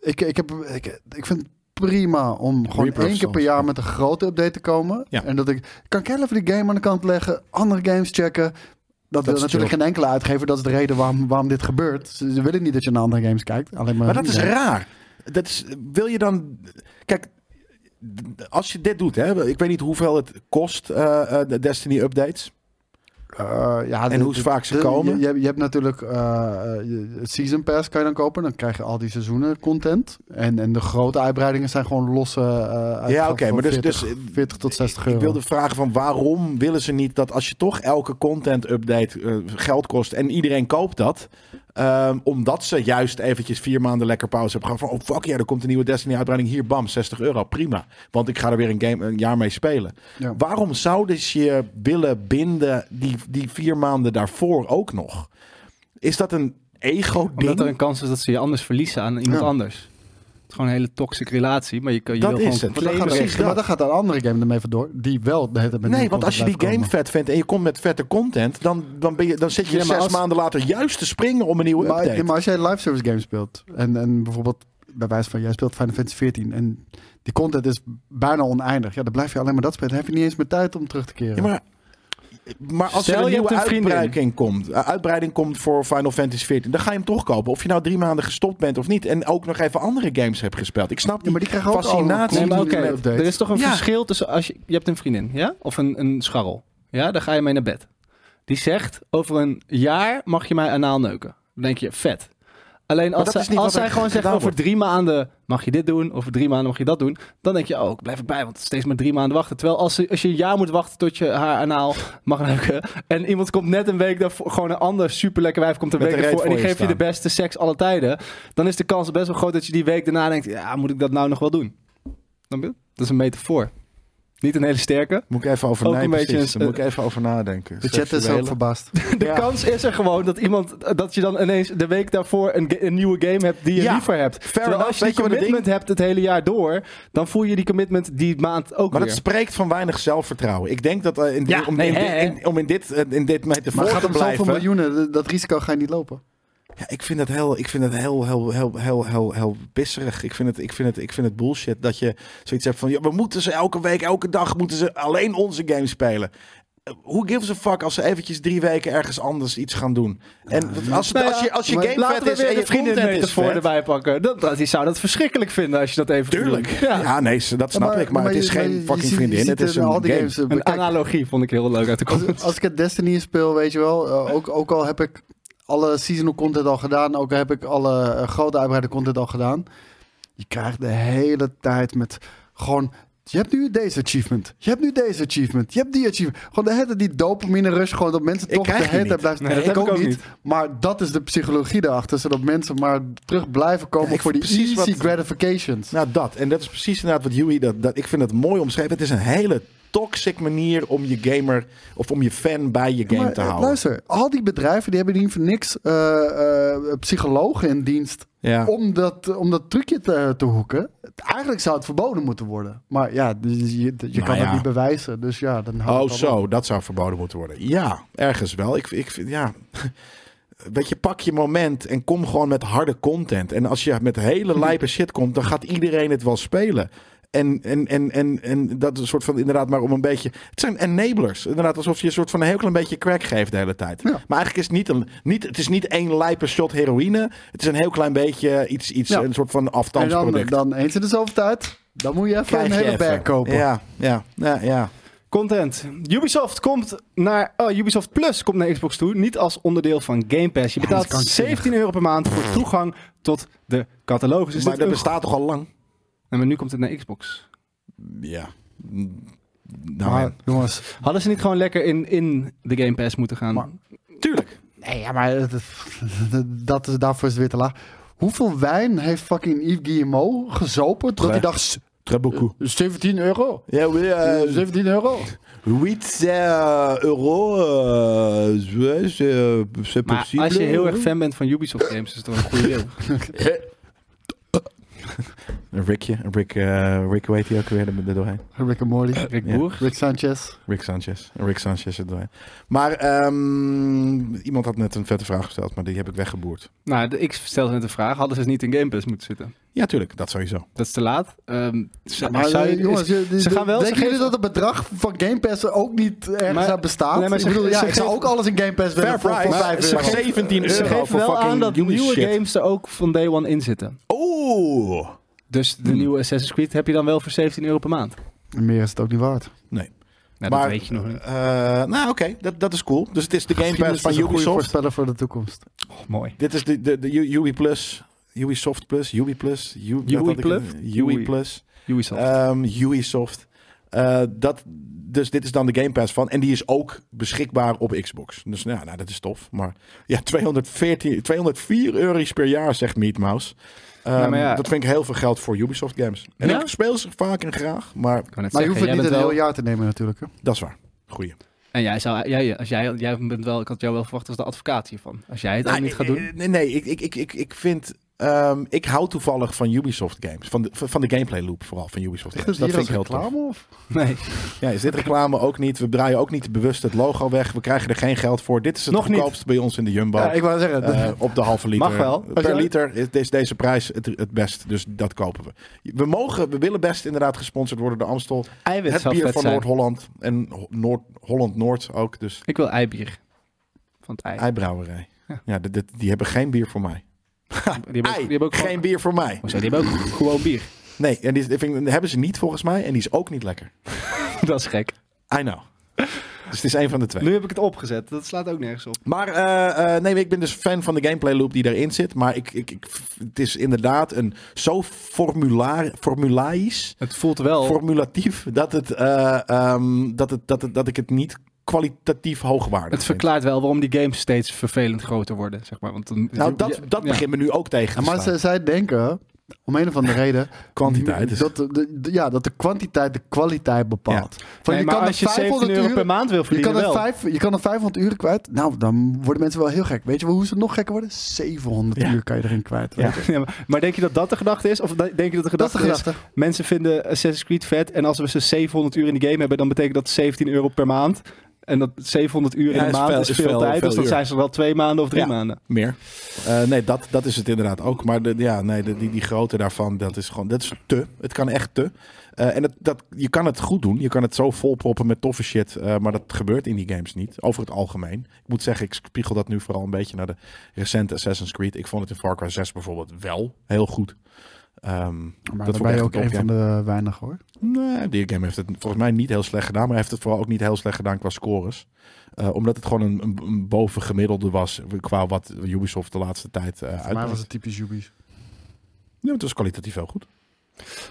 ik, ik, heb, ik, ik vind het prima om gewoon
Reaper of
één keer per
Souls.
jaar met een grote update te komen.
Ja.
En dat ik kan ik heel even die game aan de kant leggen, andere games checken. Dat,
Dat
wil
is
natuurlijk geen enkele uitgever. Dat is de reden waarom, waarom dit gebeurt. Ze, ze willen niet dat je naar andere games kijkt. Alleen maar,
Maar dat is
Ja.
raar. Dat is, wil je dan. Kijk, d- als je dit doet, hè, ik weet niet hoeveel het kost, eh, eh, de Destiny updates.
eh, ja,
En
de-
hoe
de-
vaak ze
de-
komen?
Je, je hebt natuurlijk eh, eh, je- het Season Pass kan je dan kopen. Dan krijg je al die seizoenen content. En, en de grote uitbreidingen zijn gewoon losse eh
Ja,
uitgaven
oké,
voor
maar dus,
40,
dus
40 tot 60
Ik
euro.
wilde vragen van waarom willen ze niet dat als je toch elke content update eh, geld kost en iedereen koopt dat, ehm, omdat ze juist eventjes vier maanden lekker pauze hebben gehad van oh fuck ja, er komt een nieuwe Destiny uitbreiding hier, bam, 60 euro, prima, want ik ga er weer een game een jaar mee spelen.
Ja.
Waarom zouden ze je willen binden die, die vier maanden daarvoor ook nog? Is dat een ego ding?
Omdat er een kans is dat ze je anders verliezen aan iemand
Ja.
anders. Het is gewoon een hele toxic relatie, maar je, kan, je
Dat
wil
is
gewoon
het.
maar, dan
claimen.
gaat er-
precies dat.
maar dan gaat een andere game ermee vandoor. Die wel de hele tijd met
Nee,
nieuwe
want als je die
content
game
blijft
vet vindt en je komt met vette content, dan, dan, ben je, dan zit je
Ja, maar
zes
als-
maanden later juist te springen om een nieuwe
komen. maar,
update.
ja, maar als jij live service games speelt. En, en bijvoorbeeld bij wijze van jij speelt Final Fantasy 14. En die content is bijna oneindig. Ja, dan blijf je alleen maar dat spelen. Dan heb je niet eens meer tijd om terug te keren.
Ja, maar, maar als
Stel,
er een
je
nieuwe
hebt een vriendin.
uitbreiding komt, eh, uitbreiding komt voor Final Fantasy 14, dan ga je hem toch kopen. Of je nou drie maanden gestopt bent of niet. En ook nog even andere games hebt gespeeld. Ik snap
Ja,
niet.
maar die krijgen ook
Fascinatie.
Nee,
al
maar
een
oké,
continue
er
update.
is toch een
Ja.
verschil tussen als je, je hebt een vriendin, ja? Of een, een scharrel. Ja, daar ga je mee naar bed. Die zegt, over een jaar mag je mij anaal neuken. Dan denk je, vet. Alleen als,
dat is
zij,
niet
als
wat er
zij gewoon zegt,
gedaan
over
wordt.
drie maanden mag je dit doen, over drie maanden mag je dat doen, dan denk je, oh, ik blijf erbij, want steeds maar drie maanden wachten. Terwijl als, ze- als je een jaar moet wachten tot je haar anaal mag neuken, en iemand komt net een week daarvoor, gewoon een ander superlekker wijf komt een
Met
week
de reet
daarvoor, en die
voor je
geeft je de
staan.
beste seks alle tijden, dan is de kans best wel groot dat je die week daarna denkt, ja, moet ik dat nou nog wel doen? Snap je? Dat is een metafoor. Niet een hele sterke.
Moet ik even over
Ook
nee,
een beetje
precies.
een-
Daar moet ik even over nadenken.
De chat is ook
Seksuele-
verbaasd.
De
Ja.
kans is er gewoon dat iemand dat je dan ineens de week daarvoor een, ge- een nieuwe game hebt die je
Ja,
liever hebt.
fair
Terwijl
enough.
als je
Weet
die
je wat het
commitment hebt het hele jaar door, dan voel je die commitment die maand ook
Maar
weer.
dat spreekt van weinig zelfvertrouwen. Ik denk dat eh, in,
Ja,
om,
nee,
in,
hè, hè.
in- om in dit, eh, in dit mee te
Maar het gaat
te
om zoveel
blijven.
miljoenen. d- Dat risico ga je niet lopen.
Ja, ik vind dat heel, ik vind dat heel, heel, heel, heel, heel, heel pisserig. Ik vind het, ik vind het, ik vind het bullshit dat je zoiets hebt van, ja, we moeten ze elke week, elke dag moeten ze alleen onze game spelen. Eh, Who gives a fuck als ze eventjes drie weken ergens anders iets gaan doen? En als, het-
Nou ja,
als je, als je
maar
game
laten
vet
we
is
weer
en
de
je vrienden is
vriendenmetafoor
vet,
erbij pakken. Dat, dat, die zou dat verschrikkelijk vinden als je dat even
tuurlijk.
doet.
Ja.
Ja.
nee, ze- dat snap ik. Maar, het is geen fucking vriendin. Het is een
al
game.
die games. eh,
Een
kijk,
analogie vond ik heel leuk uit de comments.
als, als ik het Destiny speel, weet je wel. eh, ook, ook al heb ik alle seasonal content al gedaan. Ook heb ik alle eh, grote uitbreide content al gedaan. Je krijgt de hele tijd met gewoon... Je hebt nu deze achievement. Je hebt nu deze achievement. Je hebt die achievement. Gewoon de hele tijd die dopamine rush. Gewoon dat mensen
Ik
toch de
krijg die
hele tijd
niet.
blijven.
Nee, dat heb ik ook niet.
Maar dat is de psychologie daarachter. Zodat mensen maar terug blijven komen
Ja, ik
voor die
vind precies
easy
wat-
gratifications.
Nou, dat. En dat is precies inderdaad wat Huey... Dat, dat, ik vind het mooi omschreven. Het is een hele toxic manier om je gamer... of om je fan bij je game
Maar,
te
eh,
houden.
Luister, al die bedrijven die hebben niet voor niks eh, eh, psychologen in dienst
Ja.
om, dat, om dat trucje te, te hoeken. Eigenlijk zou het verboden moeten worden. Maar ja, dus je, je kan
Nou ja.
het niet bewijzen. Dus ja, dan houdt
Oh,
het allemaal
zo. Dat zou verboden moeten worden. Ja, ergens wel. Ik, ik vind, ja. Weet je, pak je moment en kom gewoon met harde content. En als je met hele lijpe shit komt, dan gaat iedereen het wel spelen. En, en, en, en, en dat is een soort van inderdaad, maar om een beetje. Het zijn enablers. Inderdaad, alsof je een soort van een heel klein beetje crack geeft de hele tijd.
Ja.
Maar eigenlijk is het niet, een, niet, het is niet één lijpe shot heroïne. Het is een heel klein beetje iets, iets
Ja.
een soort van
En dan,
afstandsproduct.
dan eens in de zoveel tijd, dan moet je even
Krijg
een
je
hele
even.
bag kopen.
Ja, ja, ja, ja.
Content. Ubisoft komt naar oh, Ubisoft Plus komt naar Xbox toe, niet als onderdeel van Game Pass. Je betaalt 17 euro per maand voor toegang tot de catalogus.
Dus
Is
maar
dit
dat
een
bestaat toch al lang?
Nee, maar nu komt het naar Xbox.
Ja. Nou,
Maar, jongens,
Hadden ze niet gewoon lekker in, in de Game Pass moeten gaan?
Maar-
Tuurlijk.
Nee, ja, maar dat- dat is, daarvoor is het weer te laag. Hoeveel wijn heeft fucking Yves Guillemot gezopen? Dat hij
Tre-
dacht, "S-
Très beaucoup.
17 euro?
Ja, oui,
Eh,
euh,
17 euro?
8 eh, euro, euh, ouais, c'est euh, c'est
Maar
possible.
als je heel erg fan bent van Ubisoft games, is het toch een goede deal.
Een Rickje, een Rick, eh, Rick, hoe heet hij ook weer er er doorheen?
Rick en Morty.
Rick
Ja.
Boer.
Rick Sanchez.
Rick Sanchez. Een Rick Sanchez er doorheen. Maar ehm, iemand had net een vette vraag gesteld, maar die heb ik weggeboerd.
Nou, de- ik stelde net de vraag, hadden ze niet in Game Pass moeten zitten?
Ja, tuurlijk, dat sowieso.
Dat is te laat. Ehm, ze-
Maar
zou je-
eh, jongens, je- die-
ze gaan wel-
denken
ze
jullie
geven-
dat het bedrag van Game Pass ook niet ergens
Maar-
aan bestaat?
nee, maar ze
ik bedoel,
ge-
ja,
ze
ik zou
geven-
ook alles in Game Pass willen voor, voor
maar
5
ze
euro.
geven-
17
ze
euro
geeft
voor
wel
fucking
aan dat
Unity
nieuwe
shit.
games er ook van day one in zitten.
Oeh!
Hmm. Dus de nieuwe Assassin's Creed heb je dan wel voor 17 euro per maand.
Meer is het ook niet waard.
Nee.
Nou,
maar,
dat weet je nog niet.
eh, nou, oké, dat, dat is cool. Dus het is de Game
Misschien
Pass
is
van
het een goede
Ubisoft.
voorspeller voor de toekomst.
Oh, mooi.
Dit is de, de, de U- Ubi Plus, Ubisoft Plus, Ubi Plus, U- dat had ik-
Plus?
Ubi
Ubi.
Plus,
Ubisoft.
ehm, Ubisoft. Eh, dat, dus dit is dan de Game Pass van. En die is ook beschikbaar op Xbox. Dus nou, ja, nou dat is tof. Maar ja, 214, 204 euro's per jaar, zegt Meatmouse. Ehm
Ja, maar ja.
Dat vind ik heel veel geld voor Ubisoft games. En
Ja?
ik speel ze vaak en graag, maar
Ik wou net
Maar je
zeggen,
hoeft het
jij
niet een
bent
heel
wel-
jaar te nemen natuurlijk. hè.
dat is waar. Goeie.
En jij zou, jij, als jij, jij bent wel, ik had jou wel verwacht als de advocaat hiervan. Als jij het ook
Nou,
niet gaat
eh,
doen.
eh, Nee, nee ik, ik, ik, ik, ik vind. ehm, ik hou toevallig van Ubisoft games. Van de, van de gameplay loop vooral van Ubisoft games.
Dus
dat
hier
vind ik
als
heel tof.
reclame of?
Nee,
Ja, is dit reclame ook niet? We draaien ook niet bewust het logo weg. We krijgen er geen geld voor. Dit is het
Nog niet.
goedkoopst bij ons in de Jumbo.
Ja, ik wou zeggen.
Eh, op de halve liter.
Mag wel.
Per liter is deze, deze prijs het, het best. Dus dat kopen we. We mogen, we willen best inderdaad gesponsord worden door Amstel.
eiwit
het
zou
bier
vet
van
zijn.
Noord-Holland. En Ho- Noord- Holland-Noord ook. Dus
Ik wil eibier. Van het ei.
eibrouwerij.
Ja.
Ja, dit- dit- die hebben geen bier voor mij.
die hebben ook,
Ei,
die hebben ook
geen
gewoon-
bier voor mij.
Hoezo, die hebben ook gewoon bier.
Nee, en die, is- ik vind, die hebben ze niet volgens mij. En die is ook niet lekker.
dat is gek.
I know. Dus het is één van de twee.
Nu heb ik het opgezet. Dat slaat ook nergens op.
Maar eh, eh, nee, ik ben dus fan van de gameplay loop die daarin zit. Maar ik, ik, ik, het is inderdaad een zo formulaar, formulaisch,
Het voelt wel.
formulatief, dat, het, eh, ehm, dat, het, dat, het, dat ik het niet kwalitatief hoogwaardig
het
vind.
verklaart wel waarom die games steeds vervelend groter worden, zeg maar. Want dan,
Nou, dat, dat
ja.
begint me nu ook tegen te
En maar
staan.
zij, zij denken, om een of andere reden,
Kwantiteit is-
dat, de, de- ja, dat de kwantiteit de kwaliteit bepaalt. Van,
Nee, maar
er
als je 17 euro
uur-
per maand wil
je
verdienen,
kan, er
wel.
vijf, je kan er 500 uur kwijt. Nou, dan worden mensen wel heel gek. Weet je wel hoe ze nog gekker worden? 700
Ja.
uur kan je erin kwijt.
Ja.
weet je.
Ja, maar- maar denk je dat dat de gedachte is? Of denk je dat de
Dat is
gedachte
de
is,
gedachte.
mensen vinden Assassin's Creed vet en als we ze 700 uur in de game hebben, dan betekent dat 17 euro per maand. En dat 700 uur
Ja,
in
is
de maand
veel-
is
is
veel
veel-
tijd,
veel
dus dan
uur.
zijn ze wel twee maanden of drie
Ja.
maanden.
Meer. Eh, nee, dat, dat is het inderdaad ook. Maar de, ja, nee, de- die, die grootte daarvan, dat is gewoon dat is te. Het kan echt te. Eh, en het, dat, je kan het goed doen. Je kan het zo volproppen met toffe shit. eh, maar dat gebeurt in die games niet. Over het algemeen. Ik moet zeggen, ik spiegel dat nu vooral een beetje naar de recente Assassin's Creed. Ik vond het in Far Cry 6 bijvoorbeeld wel heel goed. Ehm,
Maar
dat
dat
vond ik
ben je
echt
ook
top,
een
ja.
van de weinigen hoor.
Nee, die game heeft het volgens mij niet heel slecht gedaan. Maar hij heeft het vooral ook niet heel slecht gedaan qua scores. Eh, omdat het gewoon een, een, een bovengemiddelde was qua wat Ubisoft de laatste tijd eh
Voor mij was
uitbrengt.
het typisch Jubies.
Ja, het was kwalitatief heel goed.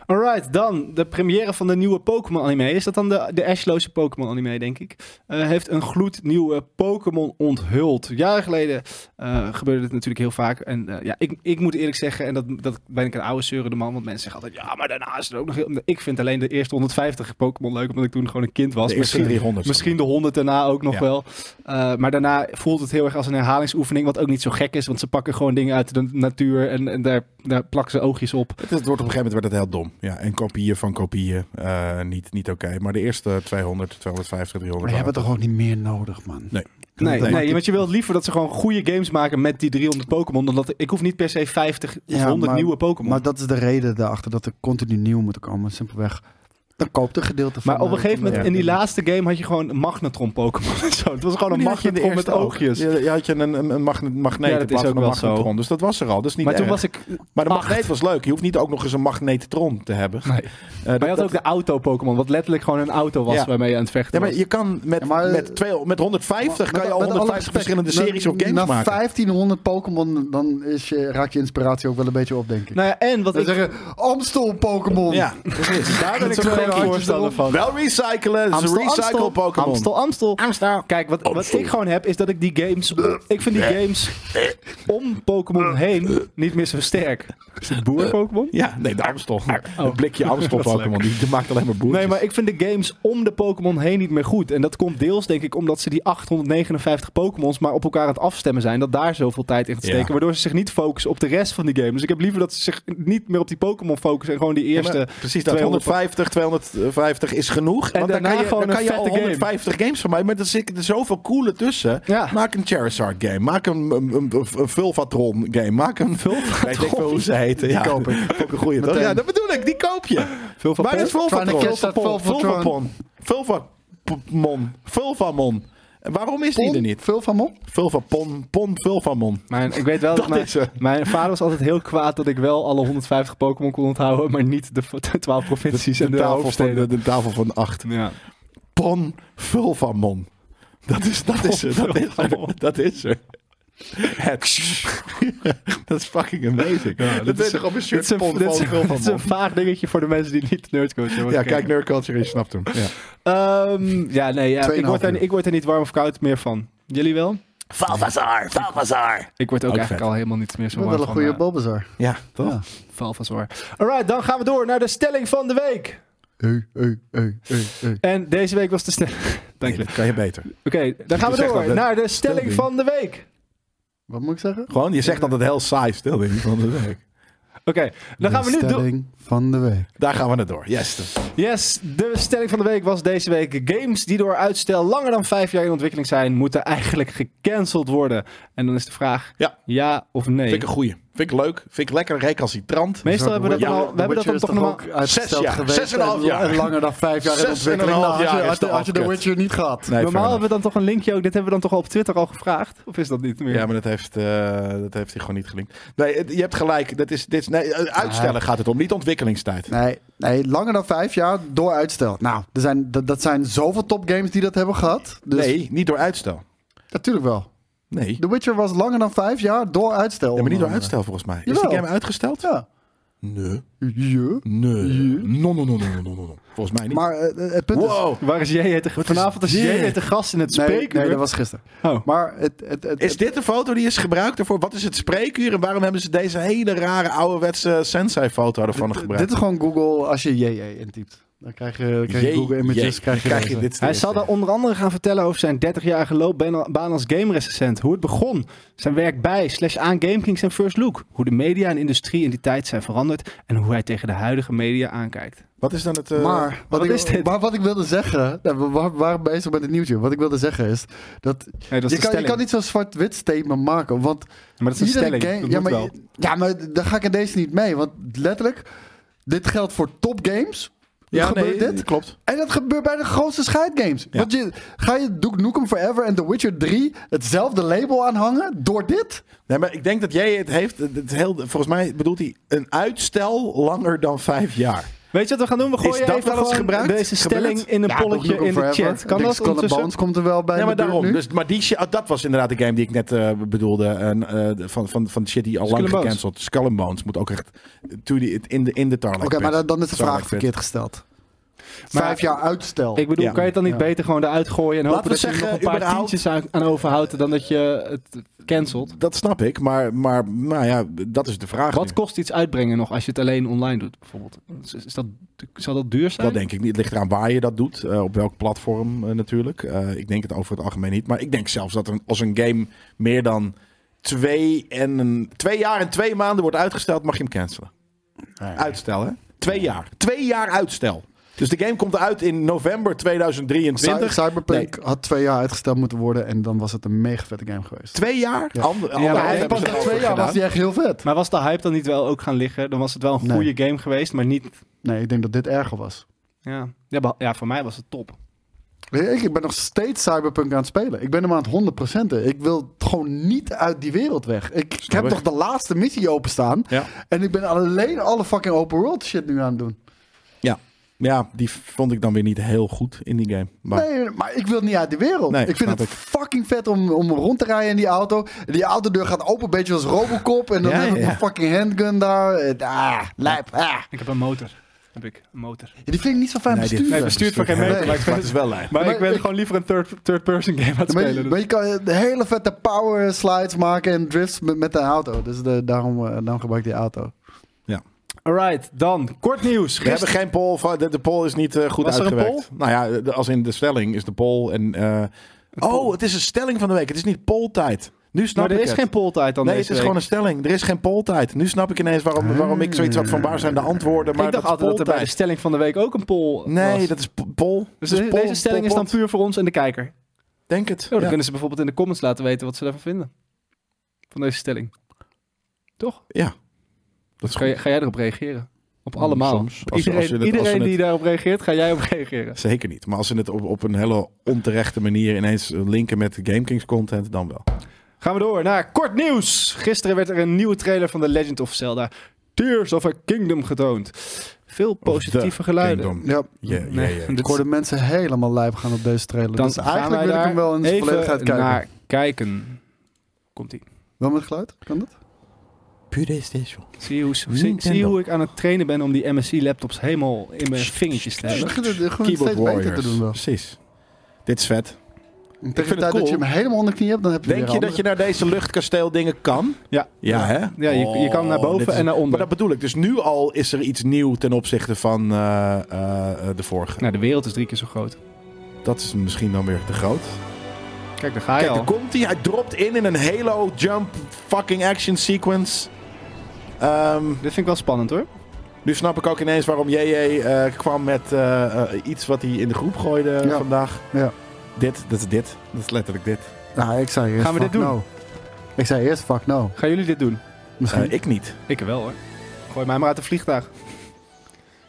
Alright, dan de première van de nieuwe Pokémon anime. Is dat dan de, de Ashloze Pokémon anime, denk ik? Eh, heeft een gloednieuwe Pokémon onthuld. Jaren geleden eh, gebeurde dit natuurlijk heel vaak. En eh, ja, ik, ik moet eerlijk zeggen, en dat, dat ben ik een oude zeurende man, want mensen zeggen altijd, ja, maar daarna is er ook nog heel... Ik vind alleen de eerste 150 Pokémon leuk, omdat ik toen gewoon een kind was.
de eerste
Misschien-
300.
Misschien de 100 daarna ook nog
Ja.
wel. Eh, maar daarna voelt het heel erg als een herhalingsoefening. Wat ook niet zo gek is, want ze pakken gewoon dingen uit de natuur. En, en daar, daar plakken ze oogjes op.
Het, het wordt op een gegeven moment werd het heel dom. Ja, en kopieën van kopieën. eh, niet niet oké. Maar de eerste 200, 250, 300.
Maar je hebt het
waren-
toch ook niet meer nodig, man.
Nee.
Nee,
Dat
nee,
maakt het-
want je wilt liever dat ze gewoon goede games maken met die 300 Pokémon. Dan dat ik hoef niet per se 50 of
Ja,
100
maar-
nieuwe Pokémon.
Maar
Maar,
dat is de reden daarachter dat er continu nieuw moet komen. Simpelweg, dan koopt een gedeelte van...
op een gegeven moment,
ja.
in die laatste game had je gewoon Magnetron Pokémon. en zo. Het was gewoon een
Die had je in de
Magnetron met
eerste ook.
oogjes.
Je, je had je een, een, een magne- magneet
Ja, dat
in plaats
is
van
ook
een
wel zo.
magnetron. Dus dat was er al. Dus niet
Maar toen
erg.
was ik...
maar de
acht.
magneet was leuk. Je hoeft niet ook nog eens een magnetron te hebben.
Nee.
Eh,
Maar je
dat-
had ook de auto-Pokémon, wat letterlijk gewoon een auto was
Ja.
waarmee je aan het vechten
Ja, maar
was.
je kan met,
Ja, maar-
eh,
met, twee, met 150 kan je al
Met alle
150
respect,
verschillende
na-
series of games
na
maken.
1500 Pokémon, dan is je, raak je inspiratie ook wel een beetje op, denk ik.
Nou ja, en wat
Dan
ik...
zeggen, Amstel Pokémon.
Nou. Ja, precies. Daar ben ik
zo
zo
gek
voor.
voorstander van.
Wel recyclen. Het is een recycle Pokémon.
Amstel, Amstel.
Amstel.
Kijk, wat, wat ik gewoon heb, is dat ik die games... Ik vind die games om Pokémon heen niet meer zo sterk. Is het boer-Pokémon?
Ja, nee, de
Ah,
Amstel.
oh.
Een blikje Amstel Pokémon. Die maakt alleen maar boertjes.
Nee, maar ik vind de games om de Pokémon heen niet meer goed. En dat komt deels, denk ik, omdat ze die 859 Pokémons maar op elkaar aan het afstemmen zijn. Dat daar zoveel tijd in gaat steken.
Ja.
Waardoor ze zich niet focussen op de rest van die game. Dus ik heb liever dat ze zich niet meer op die Pokémon focussen. En gewoon die
Ja,
eerste.
maar precies dat.
200
150, 250 is genoeg.
En
want dan
daarna
kan je,
gewoon
dan
een
kan je al
vette game.
150 games van mij. Maar er zitten er zoveel coole tussen.
Ja.
Maak een Charizard game. Maak een, een, een, een Vulvatron game. Maak een Vulvatron. Ik weet niet hoe ze heten. Ja.
koop ik.
Ook een goeie, toch?
Meteen.
Ja, dat bedoel ik. Die koop je.
Veel van
Waar is
Trying to
Vulvatron?
catch that
Vulvapon. Vulvamon. Vulvamon. En Waarom is die er niet?
Veel van mop.
Vulvapon. Pon Vulvamon.
Mijn, ik weet wel dat,
Dat
mijn,
is ze.
mijn vader was altijd heel kwaad dat ik wel alle 150 Pokémon kon onthouden, maar niet de v- 12 provincies en de,
tafel van,
hoofdsteden.
de, de tafel van acht.
Ja.
Pon Vulvamon. Dat is, dat is er. Dat is er. Dat is er. Het. dat is fucking amazing. dat, is toch op een
Dit is
shirt
een,
Pon
dit is-
Vulvamon.
dit is een vaag dingetje voor de mensen die niet nerdcoach zijn.
Ja, kijk, Nerd Culture, je snapt hem. Ja.
Ehm, ja, nee, ja, ik,
Tweeënhalf
word er,
uur.
ik word er niet warm of koud meer van. Jullie wel?
Valvazar, Valvazar.
Ik word ook,
Ook
eigenlijk
vet.
al helemaal niet meer zo
Dat
warm
is wel een
van,
goede
eh,
Bulbasaur.
ja, toch?
Ja.
Valvazar. Alright, dan gaan we door naar de stelling van de week.
Hey, hey, hey, hey, hey.
En deze week was de stelling... Dank
Nee,
je.
dat kan je beter.
Oké, dan gaan we
zegt
door
dat, hè?
naar de stelling
Stelling.
van de week.
Wat moet ik zeggen?
Gewoon, je zegt altijd heel saai stil in van de week.
Oké, dan
De
gaan we nu door.
stelling van de week.
Daar gaan we naar door. Yes.
Yes, de stelling van de week was deze week. Games die door uitstel langer dan vijf jaar in ontwikkeling zijn, moeten eigenlijk gecanceld worden. En dan is de vraag
Ja.
ja of nee.
Vind ik een goeie. Vind ik leuk. Vind ik lekker recalcitrant.
Meestal
Zo,
hebben we dat
The
dan al.
Witcher-
We
The
hebben dat dan
Witcher
toch
is
nog
ook uitgesteld
Zes jaar.
geweest
Zes en een half
en-
jaar.
En langer dan vijf jaar
Zes
in
en
ontwikkeling.
een half
Nou, had je-
jaar is
had je-
de
had je The
afkut.
Witcher niet gehad.
Nee,
Normaal
fair
hebben we dan toch een linkje ook. Dit hebben we dan toch al op Twitter al gevraagd? Of is dat niet meer?
Ja, maar dat heeft, eh, dat heeft hij gewoon niet gelinkt. Nee, het- je hebt gelijk. Dat is, dit is, nee, eh, uitstellen gaat het om, niet ontwikkelingstijd.
Ah. Nee, nee, langer dan vijf jaar door uitstel. Nou, er zijn, dat, dat zijn zoveel topgames die dat hebben gehad. Dus
nee, niet door uitstel.
natuurlijk wel.
Nee,
The Witcher was langer dan vijf jaar door uitstel.
ja, maar niet door
onder
uitstel volgens mij. Is
Jawel.
die game uitgesteld?
andere.
Nee.
Ja.
Nee.
Ja.
No, no, no, no, no, no, no. Volgens mij niet.
Maar eh, het punt is...
wow.
Waar is jij te
Wat is
Vanavond is
dit?
jij te gast in het
Nee,
spreekuur.
nee, dat was gisteren.
Oh.
Maar het, het, het,
Is dit de foto die is gebruikt ervoor? Wat is het spreekuur en waarom hebben ze deze hele rare ouderwetse sensei-foto ervan
dit, eh,
gebruikt?
dit is gewoon Google als je JJ intypt. Dan krijg je, dan
E
krijg je Google Images.
Jee,
krijg je
krijg
deze.
je dit
Hij zal
dan
daar onder andere gaan vertellen over zijn 30-jarige loopbaan als gamerecensent. Hoe het begon, zijn werk bij, slash aan GameKings en First Look. Hoe de media en industrie in die tijd zijn veranderd en hoe hij tegen de huidige media aankijkt.
Wat is dan het... eh,
Maar wat,
wat
ik,
is dit?
maar wat ik wilde zeggen, nou, we wa- waren bezig met het nieuwtje. Wat ik wilde zeggen is dat,
Nee, dat is de
je, kan, je
stelling.
kan niet zo'n zwart-wit statement maken. Want
Maar dat is een
iedere
stelling.
game-
Dat
ja,
moet
maar,
wel.
ja, maar daar ga ik in deze niet mee. Want letterlijk, dit geldt voor topgames. Ja, gebeurt dit?
Klopt.
En dat gebeurt bij de grootste scheidgames.
Ja.
Want je, ga je Duke Nukem Forever en The Witcher 3 hetzelfde label aanhangen door dit?
Nee, maar ik denk dat jij het heeft. Het heel, volgens mij bedoelt hij een uitstel langer dan vijf jaar.
Weet je wat we gaan doen? We gooien
Is dat
even
wel eens
gewoon
gebruikt?
deze
Gebeurt?
stelling in een
Ja,
polletje
Duke
in
Nukem
de
Forever.
chat.
Ik
Kan
denk
dat
Skull and
ondertussen?
Bones komt er wel bij
Ja,
in
maar
de buurt
daarom.
nu.
Dus, maar die, shi- ah, dat was inderdaad de game die ik net eh, bedoelde. En, eh, van, van, van shit die al
Skull
lang
and Bones.
gecanceld. Skull and Bones moet ook echt to the, in de, in de tarlac
Oké, maar dan, dan is de
Tarlac
vraag
pit.
verkeerd gesteld.
Maar-
Vijf jaar uitstel.
Ik bedoel,
Ja.
kan je het dan niet
Ja.
beter gewoon eruit gooien en hopen
Laten we
dat je er nog
zeggen,
een paar
überhaupt-
tientjes aan, aan overhoudt dan dat je het cancelt?
Dat snap ik, maar, maar nou ja, dat is de vraag.
Wat
nu.
kost iets uitbrengen nog als je het alleen online doet, bijvoorbeeld? Is, is dat, zal dat duur zijn?
Dat denk ik niet. Het ligt eraan waar je dat doet. eh, op welk platform eh, natuurlijk. Eh, ik denk het over het algemeen niet. Maar ik denk zelfs dat een, als een game meer dan twee, en een, twee jaar en twee maanden wordt uitgesteld, mag je hem cancelen. Uitstel, hè? Twee jaar. Twee jaar uitstel. Dus de game komt uit in november
Cy-
2023.
Cyberpunk had twee jaar uitgesteld moeten worden en dan was het een mega vette game geweest.
Twee jaar?
Ja.
Ander,
maar
anderhalf
hij
hebben
past
ze
na
erover
twee jaar
gedaan.
was die echt heel vet.
Maar was de hype dan niet wel ook gaan liggen? Dan was het wel een
Nee.
goede game geweest, maar niet...
Nee, ik denk dat dit erger was.
Ja, ja, beha- ja voor mij was het top.
Ik ik ben nog steeds Cyberpunk aan het spelen. Ik ben hem aan het 100%. en. Ik wil gewoon niet uit die wereld weg. Ik heb
ik.
nog de laatste missie openstaan.
Ja.
En ik ben alleen alle fucking open world shit nu aan het doen.
Ja, die vond ik dan weer niet heel goed in die game. Maar
Nee, maar ik wil niet uit de wereld.
Nee,
ik vind het
snap ik.
fucking vet om, om rond te rijden in die auto. Die autodeur gaat open, een beetje als Robocop. En dan
Ja,
heb ik
ja.
mijn fucking handgun daar. En, Ah, lijp. Ah.
Ik heb een motor. Heb ik een motor.
Ja, die vind ik niet zo fijn
Nee, die-
besturen.
Nee, bestuurd voor geen
Nee,
meter, maar ik
maar het
vind
is
het...
wel lijn.
Maar,
Maar
ik ben
ik-
gewoon liever een third- third-person game dus. aan het
Maar,
spelen.
je- maar je kan
dus-
de hele vette power slides maken en drifts met, met de auto. Dus de, daarom, eh, daarom gebruik ik die auto.
Alright, dan. Kort nieuws.
We hebben
Gisteren...
geen poll. van- De, de poll is niet eh, goed
Was er een
uitgewerkt. Nou ja, de- als in de stelling is de poll. En, eh,
poll.
Oh, het is een stelling van de week. Het is niet polltijd. Nu snap
Maar er
ik
is
het.
geen poltijd dan
Nee, het is
deze week. Ah.
gewoon een stelling. Er is geen polltijd. Nu snap ik ineens waarom, waarom ik zoiets had van waar zijn de antwoorden. Maar
ik dacht
dat is
altijd dat er bij de
polltijd.
stelling van de week ook een poll
Nee,
was.
dat is po- poll.
Dus
Dat
de-
poll,
deze stelling is
poll,
dan
poll.
puur voor ons en de kijker. Oh,
Denk het.
dan
Ja.
kunnen ze bijvoorbeeld in de comments laten weten wat ze daarvan vinden. Van deze stelling. Toch?
Ja. Dat is
Ga, je-
goed.
ga jij erop reageren? Op allemaal.
Soms. Als- als
iedereen
je het- als
iedereen
je
die
het-
daarop reageert, ga jij op reageren.
Zeker niet. Maar als ze het op, op een hele onterechte manier ineens linken met GameKings content, dan wel.
Gaan we door naar kort nieuws. Gisteren werd er een nieuwe trailer van The Legend of Zelda Tears of a Kingdom getoond. Veel positieve geluiden.
Kingdom.
Ja,
Ja, ja,
Nee,
ja.
dit
ik hoorde mensen helemaal lijp gaan op deze trailer.
Dan
dus
gaan
eigenlijk
wij
wil ik
daar
hem wel in zijn
even
volledigheid kijken.
naar kijken. Komt ie.
Wel met geluid? Kan dat?
PlayStation.
Zie je, hoe, zie,
Nintendo.
zie je hoe ik aan het trainen ben om die MSI-laptops helemaal in mijn vingertjes te
Ik
hebben?
begin het gewoon
Keyboard
steeds beter te
Warriors.
doen wel.
Precies. Dit is vet.
Tegen de
vind
tijd
het
dat je
cool.
hem helemaal onder knie hebt, dan heb je
Denk
weer
je dat je
andere.
naar deze luchtkasteel dingen kan?
Ja.
Ja, hè?
Ja, je, je kan naar
Oh, dit
boven
is-
en naar onder.
Maar dat bedoel ik. Dus nu al is er iets nieuw ten opzichte van eh, eh, eh, de vorige.
Nou, de wereld is drie keer zo groot.
Dat is misschien dan weer te
Ah,
groot.
Kijk, daar ga je
Kijk, daar
al.
komt hij. Hij dropt in in een Halo jump fucking action sequence. Ehm,
Dit vind ik wel spannend hoor.
nu snap ik ook ineens waarom JJ eh, kwam met eh, eh, iets wat hij in de groep gooide
Ja.
vandaag.
Ja.
Dit, dat is dit. Dat is letterlijk dit.
Nou, ik zei eerst
Gaan we
fuck
dit doen?
no. Ik zei eerst fuck no.
Gaan jullie dit doen?
Misschien.
Eh, ik niet.
Ik wel hoor. Gooi mij maar uit de vliegtuig. Ik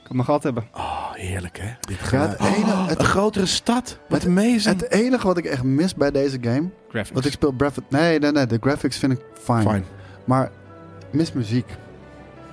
kan mijn gat hebben.
Oh, heerlijk hè. Dit
Ja,
gaat...
het, enige,
Oh,
het,
een grotere stad. Wat amazing.
het enige wat ik echt mis bij deze game...
Graphics.
Want ik speel graphics... Nee, nee, nee. De graphics vind ik fijn.
Fine.
Maar ik mis muziek.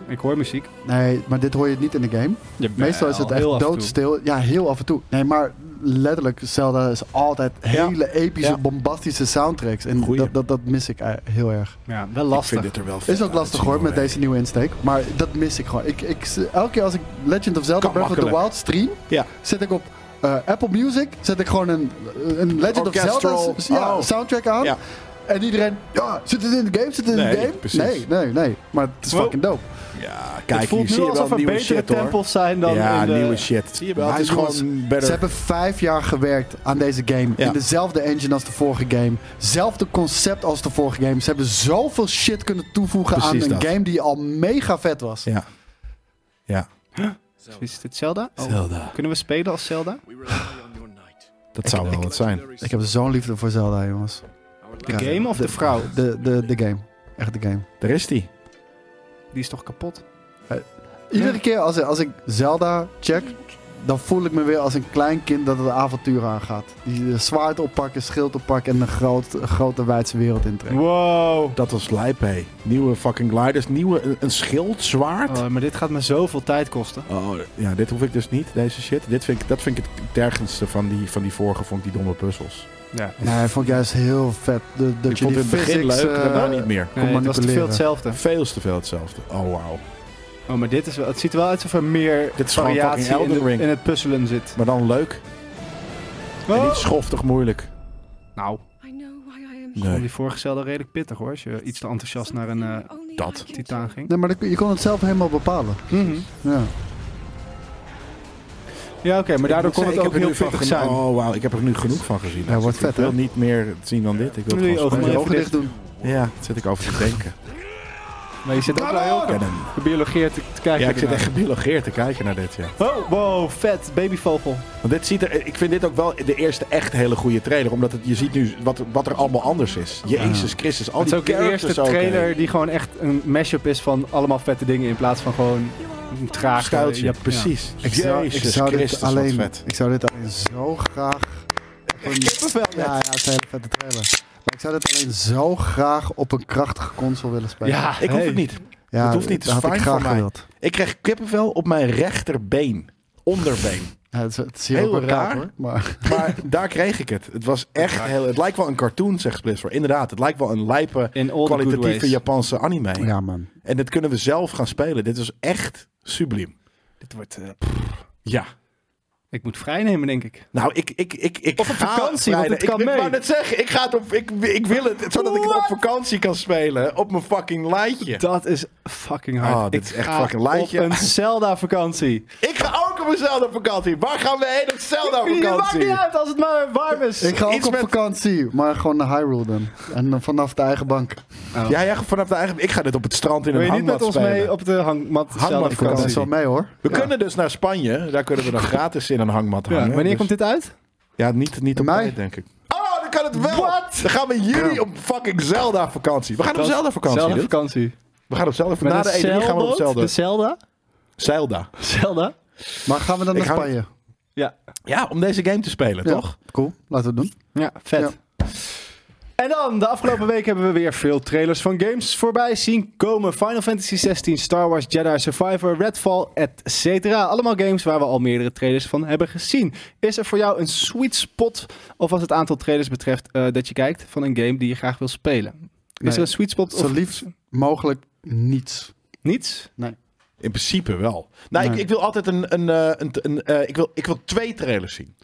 Ik hoor muziek.
Nee, maar dit hoor je niet in de game. Meestal is het echt doodstil. Ja, heel af en toe. Nee, maar letterlijk, Zelda is altijd hele epische,
Ja.
bombastische soundtracks. En
Goeie.
dat, dat, dat mis ik eh, heel erg.
Ja, wel
Ik
lastig.
vind dit er wel vet
Is ook
uit
lastig
zien,
hoor, met
hè.
deze nieuwe insteek. Maar dat mis ik gewoon. Ik, ik, elke keer als ik Legend of Zelda
Kan
Breath of the
makkelijk.
Wild stream,
Ja.
zet ik op eh, Apple Music, zet ik gewoon een, een Legend
Orchestral.
of Zelda s- ja,
Oh.
soundtrack aan.
Ja.
En iedereen, ja, zit het in de game, zit het in
Nee,
de game?
precies.
Nee, nee, nee. Maar het is
Wow.
fucking dope.
Ja,
Het
kijk,
voelt
hier
nu
zie je
alsof er
wel nieuwe
betere
shit hoor.
tempels zijn dan
ja,
in de...
nieuwe shit.
Zie je wel,
het is
Maar jongens,
gewoon better.
Ze hebben vijf jaar gewerkt aan deze game.
Ja.
In dezelfde engine als de vorige game. Zelfde concept als de vorige game. Ze hebben zoveel shit kunnen toevoegen
Precies
aan een
dat.
game die al mega vet was.
Ja. Ja.
Is dit Zelda? Oh.
Zelda.
Kunnen we spelen als Zelda?
Dat zou wel wat zijn.
Ik heb zo'n liefde voor Zelda, jongens.
De
Ja.
game of de,
De-
vrouw?
De, de, de game. Echt de game.
Daar is die.
Die is toch kapot?
Iedere keer als, als ik Zelda check, dan voel ik me weer als een klein kind dat het avontuur aangaat. Die eh, zwaard oppakken, schild oppakken en een groot, een grote wijdse wereld intrekt.
Wow.
Dat was lijp, hé. Nieuwe fucking gliders. Nieuwe, een, een schild, zwaard.
Oh, maar dit gaat me zoveel tijd kosten.
Oh, ja, dit hoef ik dus niet, deze shit. Dit vind ik, dat vind ik het tergendste van die, van die vorige, vond ik die domme puzzels.
Ja.
Nee, vond ik juist heel vet. De, dat
ik
je
vond
die
het begin
physics,
leuk,
eh,
daarna niet meer.
Nee, het was te veel
manipuleren.
hetzelfde.
Veel te veel hetzelfde. Oh, wauw.
Oh, maar dit is wel, het ziet er wel uit alsof er meer
Dit is gewoon
variatie
fucking
in,
Elden
de-
Ring.
in het puzzelen zit.
Maar dan leuk. En
Oh.
niet schoftig moeilijk.
Nou,
I know why I am
vond
Nee.
die vorige Zelda redelijk pittig hoor. Als je iets te enthousiast naar een eh,
dat.
titaan ging.
Nee, maar dan kun- je kon het zelf helemaal bepalen.
Mhm.
Ja.
Ja, oké, maar daardoor kon
komt
het ook heel pittig zijn.
Oh, wauw. Ik heb er nu genoeg van gezien.
Ja, wordt
Ik
vet,
wil
hè?
niet meer zien dan dit. Ik wil
Doe je
het gewoon
ogen
Moet je
even
spelen.
ogen dicht doen.
Ja, daar zit ik over te denken.
Maar je zit ook wel heel
Ja, dan-
gebiologeerd te te kijken.
Ja, ik zit
ernaar.
echt gebiologeerd te kijken naar dit, ja.
Oh, wow, vet, babyvogel.
Want dit ziet er, ik vind dit ook wel de eerste echt hele goede trailer. Omdat het, je ziet nu wat, wat er allemaal anders is. Jezus Christus, al
Het is
die
ook de eerste
Oh, characters ook, hè.
trailer die gewoon echt een mashup is van allemaal vette dingen in plaats van gewoon een traag eh,
Schuiltje,
ja,
precies.
Ik zou, ik
Jezus
zou dit
Christus, wat
alleen,
vet.
ik zou dit alleen zo graag. Ja, ja, het is een hele vette trailer. Maar ik zou dit alleen zo graag op een krachtige console willen
Ja,
spelen.
Ik hoef
hey.
het niet.
Ja,
dat hoeft niet. Het is
had ik
fijn
graag
voor mij.
gewild.
Ik kreeg kippenvel op mijn rechterbeen. Onderbeen.
Ja, het, is, het is heel,
Heel
raar,
raar.
hoor. Maar
Maar daar kreeg ik het. Het was echt heel... Het lijkt wel een cartoon, zegt Blizzard. Inderdaad, het lijkt wel een lijpe,
In all the good
kwalitatieve
ways.
Japanse anime.
ja, man.
En dit kunnen we zelf gaan spelen. Dit is echt subliem.
Dit wordt, eh,
Ja.
ik moet vrijnemen denk ik.
Nou, ik, ik, ik, ik
Of op
ga
vakantie, want het
Ik-
kan
ik,
mee.
wou net zeggen, ik, ga het op, ik, ik wil het, zodat ik het op vakantie kan spelen. Op mijn fucking lijntje.
Dat is fucking hard.
Ah, dit
Ik
is echt
ga
fucking lijntje.
op een Zelda vakantie.
Ik ga ook op mezelf op vakantie. Waar gaan we heen op Zelda op
Het maakt niet
vakantie?
uit als het maar warm is.
Ik ga ook
Iets
op
met-
vakantie, maar gewoon naar Hyrule dan. En dan vanaf de eigen bank.
Ja, jij gaat vanaf de eigen... Ik ga dit op het strand in
Wil
een
je niet
hangmat
met ons
spelen.
mee op de hangmat Zelda
Hangmatvakantie.
Ik kan
vakantie?
best wel mee hoor.
We kunnen dus naar Spanje. Daar kunnen we dan gratis in een hangmat
Ja,
hangen.
wanneer
Dus-
komt dit uit?
Ja, niet, niet op
Mei?
tijd, denk ik. Oh, dan kan het wel. Dan gaan we in juli op fucking Zelda vakantie. We gaan op
Dat-
Zelda vakantie.
Zelda
dude.
vakantie.
We gaan op Zelda
Met
Na de
een
E3 gaan we op
zeilboot?
Zelda.
De Zelda?
Zelda.
Zelda?
Maar gaan we dan
Ik
naar
ga-
Spanje?
Ja.
Ja, om deze game te spelen,
Ja.
toch?
Cool, laten we het doen.
Ja, vet. En dan, de afgelopen week hebben we weer veel trailers van games voorbij zien komen. Final Fantasy 16, Star Wars Jedi Survivor, Redfall, etc. Allemaal games waar we al meerdere trailers van hebben gezien. Is er voor jou een sweet spot, of wat het aantal trailers betreft, eh, dat je kijkt van een game die je graag wil spelen? Is
Nee.
er een sweet spot of
Zo liefst mogelijk niets.
niets?
In principe wel. Nou, ik,
Nee.
ik wil altijd een. een, eh, een, een, eh, ik, wil, ik wil twee trailers zien.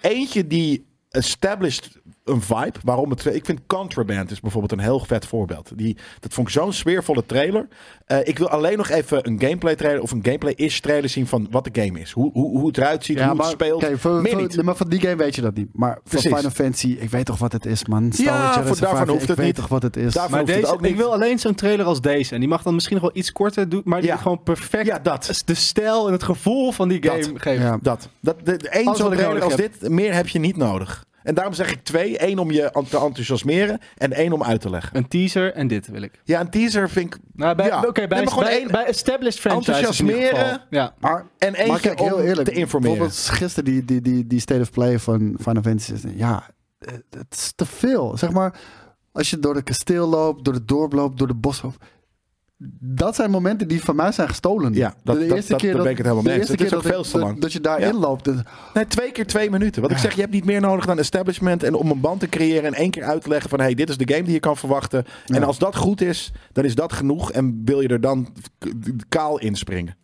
Eentje die established een vibe. Waarom het. Ik vind Contraband is bijvoorbeeld een heel vet voorbeeld. Die, dat vond ik zo'n sfeervolle trailer. Eh, ik wil alleen nog even een gameplay trailer of een gameplay-ish trailer zien van wat de game is. Hoe, hoe, hoe het eruit ziet, hoe het speelt.
oké, voor-
Meer
voor-
niet.
nee, maar van die game weet je dat niet. Maar van
Precies.
Final Fantasy, ik weet toch wat het is, man. Star
Ja,
Wars
voor-
Jedi
daarvan
Survivor,
hoeft het
ik weet
niet.
toch wat het is.
Daarvan-
Maar
hoeft het
deze,
ook niet.
ik wil alleen zo'n trailer als deze. En die mag dan misschien nog wel iets korter doen, maar die
Ja.
gewoon perfect
Ja, dat.
de stijl en het gevoel van die game
Dat.
geeft.
Ja.
Dat. dat de, de- één
Alles
zo'n
wat ik
trailer als
nodig
dit, meer heb je niet nodig. En daarom zeg ik twee. Eén om je te enthousiasmeren en één om uit te leggen.
Een teaser en dit wil ik.
Ja, een teaser vind ik...
Nou, bij,
Ja.
oké, bij,
Nee, maar gewoon
bij,
één-
bij established franchises in ieder
Enthousiasmeren.
geval. Ja.
Maar
En
Maar
eentje
kijk, heel
om
eerlijk,
te informeren.
Bijvoorbeeld gisteren die, die, die, die State of Play van Final Fantasy 16. Ja, eh, het is te veel. Zeg maar, als je door het kasteel loopt, door de dorp loopt, door de bos loopt. Dat zijn momenten die van mij zijn gestolen.
Ja, dat-
de
dat- dat- daar ben ik het helemaal
de
mee eens.
eerste
Het is
keer
ook
dat,
veel
ik-
te
dat-
lang.
dat je daarin
Ja.
loopt. dat-
Nee, twee keer twee minuten. Wat ik zeg, je hebt niet meer nodig dan establishment en om een band te creëren en één keer uit te leggen van hey, dit is de game die je kan verwachten. En als dat goed is, dan is dat genoeg en wil je er dan k- kaal inspringen.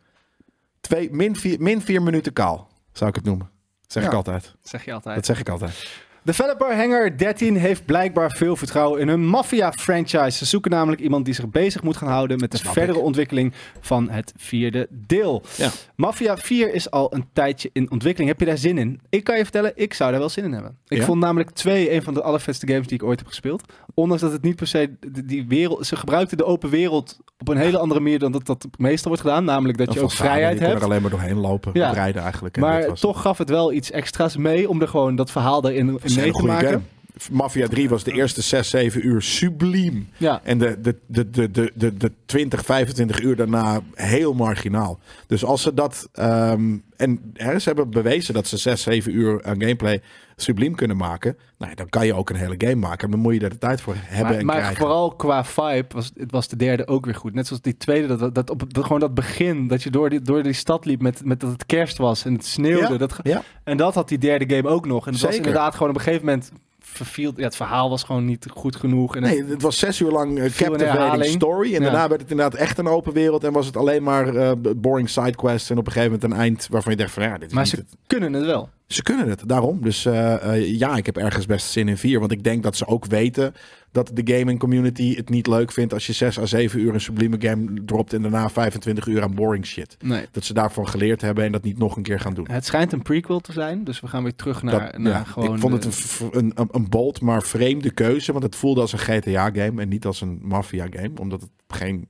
Twee, min, vier, min vier minuten kaal, zou ik het noemen. Dat zeg
Ja.
ik altijd.
Dat zeg je
Dat
altijd.
zeg ik altijd.
Developer Hanger 13 heeft blijkbaar veel vertrouwen in hun Mafia-franchise. Ze zoeken namelijk iemand die zich bezig moet gaan houden met de
Snap
verdere
ik.
ontwikkeling van het vierde deel.
Ja.
Mafia 4 is al een tijdje in ontwikkeling. Heb je daar zin in? Ik kan je vertellen, ik zou daar wel zin in hebben. Ik
Ja?
vond namelijk 2 een van de allervetste games die ik ooit heb gespeeld. Ondanks dat het niet per se de- die wereld... Ze gebruikten de open wereld op een hele andere manier dan dat dat meestal wordt gedaan. Namelijk dat je ook vrijheid
Je kon
hebt.
er alleen maar doorheen lopen,
Ja.
ja. rijden eigenlijk. En dat
Maar
was
toch gaf het wel iets extra's mee om er gewoon dat verhaal erin
het. Dat is
in
een
mee
hele
te
goede
maken.
game. Mafia 3 was de eerste 6, 7 uur subliem.
Ja.
En de, de, de, de, de, de, de 20, 25 uur daarna heel marginaal. Dus als ze dat. ehm, en hè, ze hebben bewezen dat ze 6, 7 uur aan gameplay subliem kunnen maken. Nou, ja, dan kan je ook een hele game maken. Maar dan moet je daar de tijd voor hebben
Maar,
en
maar
krijgen.
vooral qua vibe was, het was de derde ook weer goed. Net zoals die tweede, dat- dat, dat, op, dat, gewoon dat begin, dat je door die, door die stad liep met, met dat het kerst was en het sneeuwde.
Ja,
Dat, ge-
ja.
En dat had die derde game ook nog. En het was
Zeker.
inderdaad gewoon op een gegeven moment verviel. Ja, het verhaal was gewoon niet goed genoeg. En het-
Nee, het was zes uur lang eh,
Veel in
captivating
herhaling.
story. En
Ja.
daarna werd het inderdaad echt een open wereld. En was het alleen maar eh, boring sidequests. En op een gegeven moment een eind waarvan je dacht van ja, dit is
maar
niet
ze
het.
kunnen het wel.
Ze kunnen het, daarom. Dus eh, eh, ja, ik heb ergens best zin in vier. Want ik denk dat ze ook weten dat de gaming community het niet leuk vindt... als je 6 à 7 uur een sublieme game dropt... en daarna 25 uur aan boring shit.
Nee.
Dat ze daarvan geleerd hebben en dat niet nog een keer gaan doen.
Het schijnt een prequel te zijn, dus we gaan weer terug naar,
Dat-
naar
ja,
nou, gewoon... eh,
ik vond het
de-
een, v- een, een, een bold, maar vreemde keuze. Want het voelde als een GTA-game en niet als een Mafia-game. Omdat het geen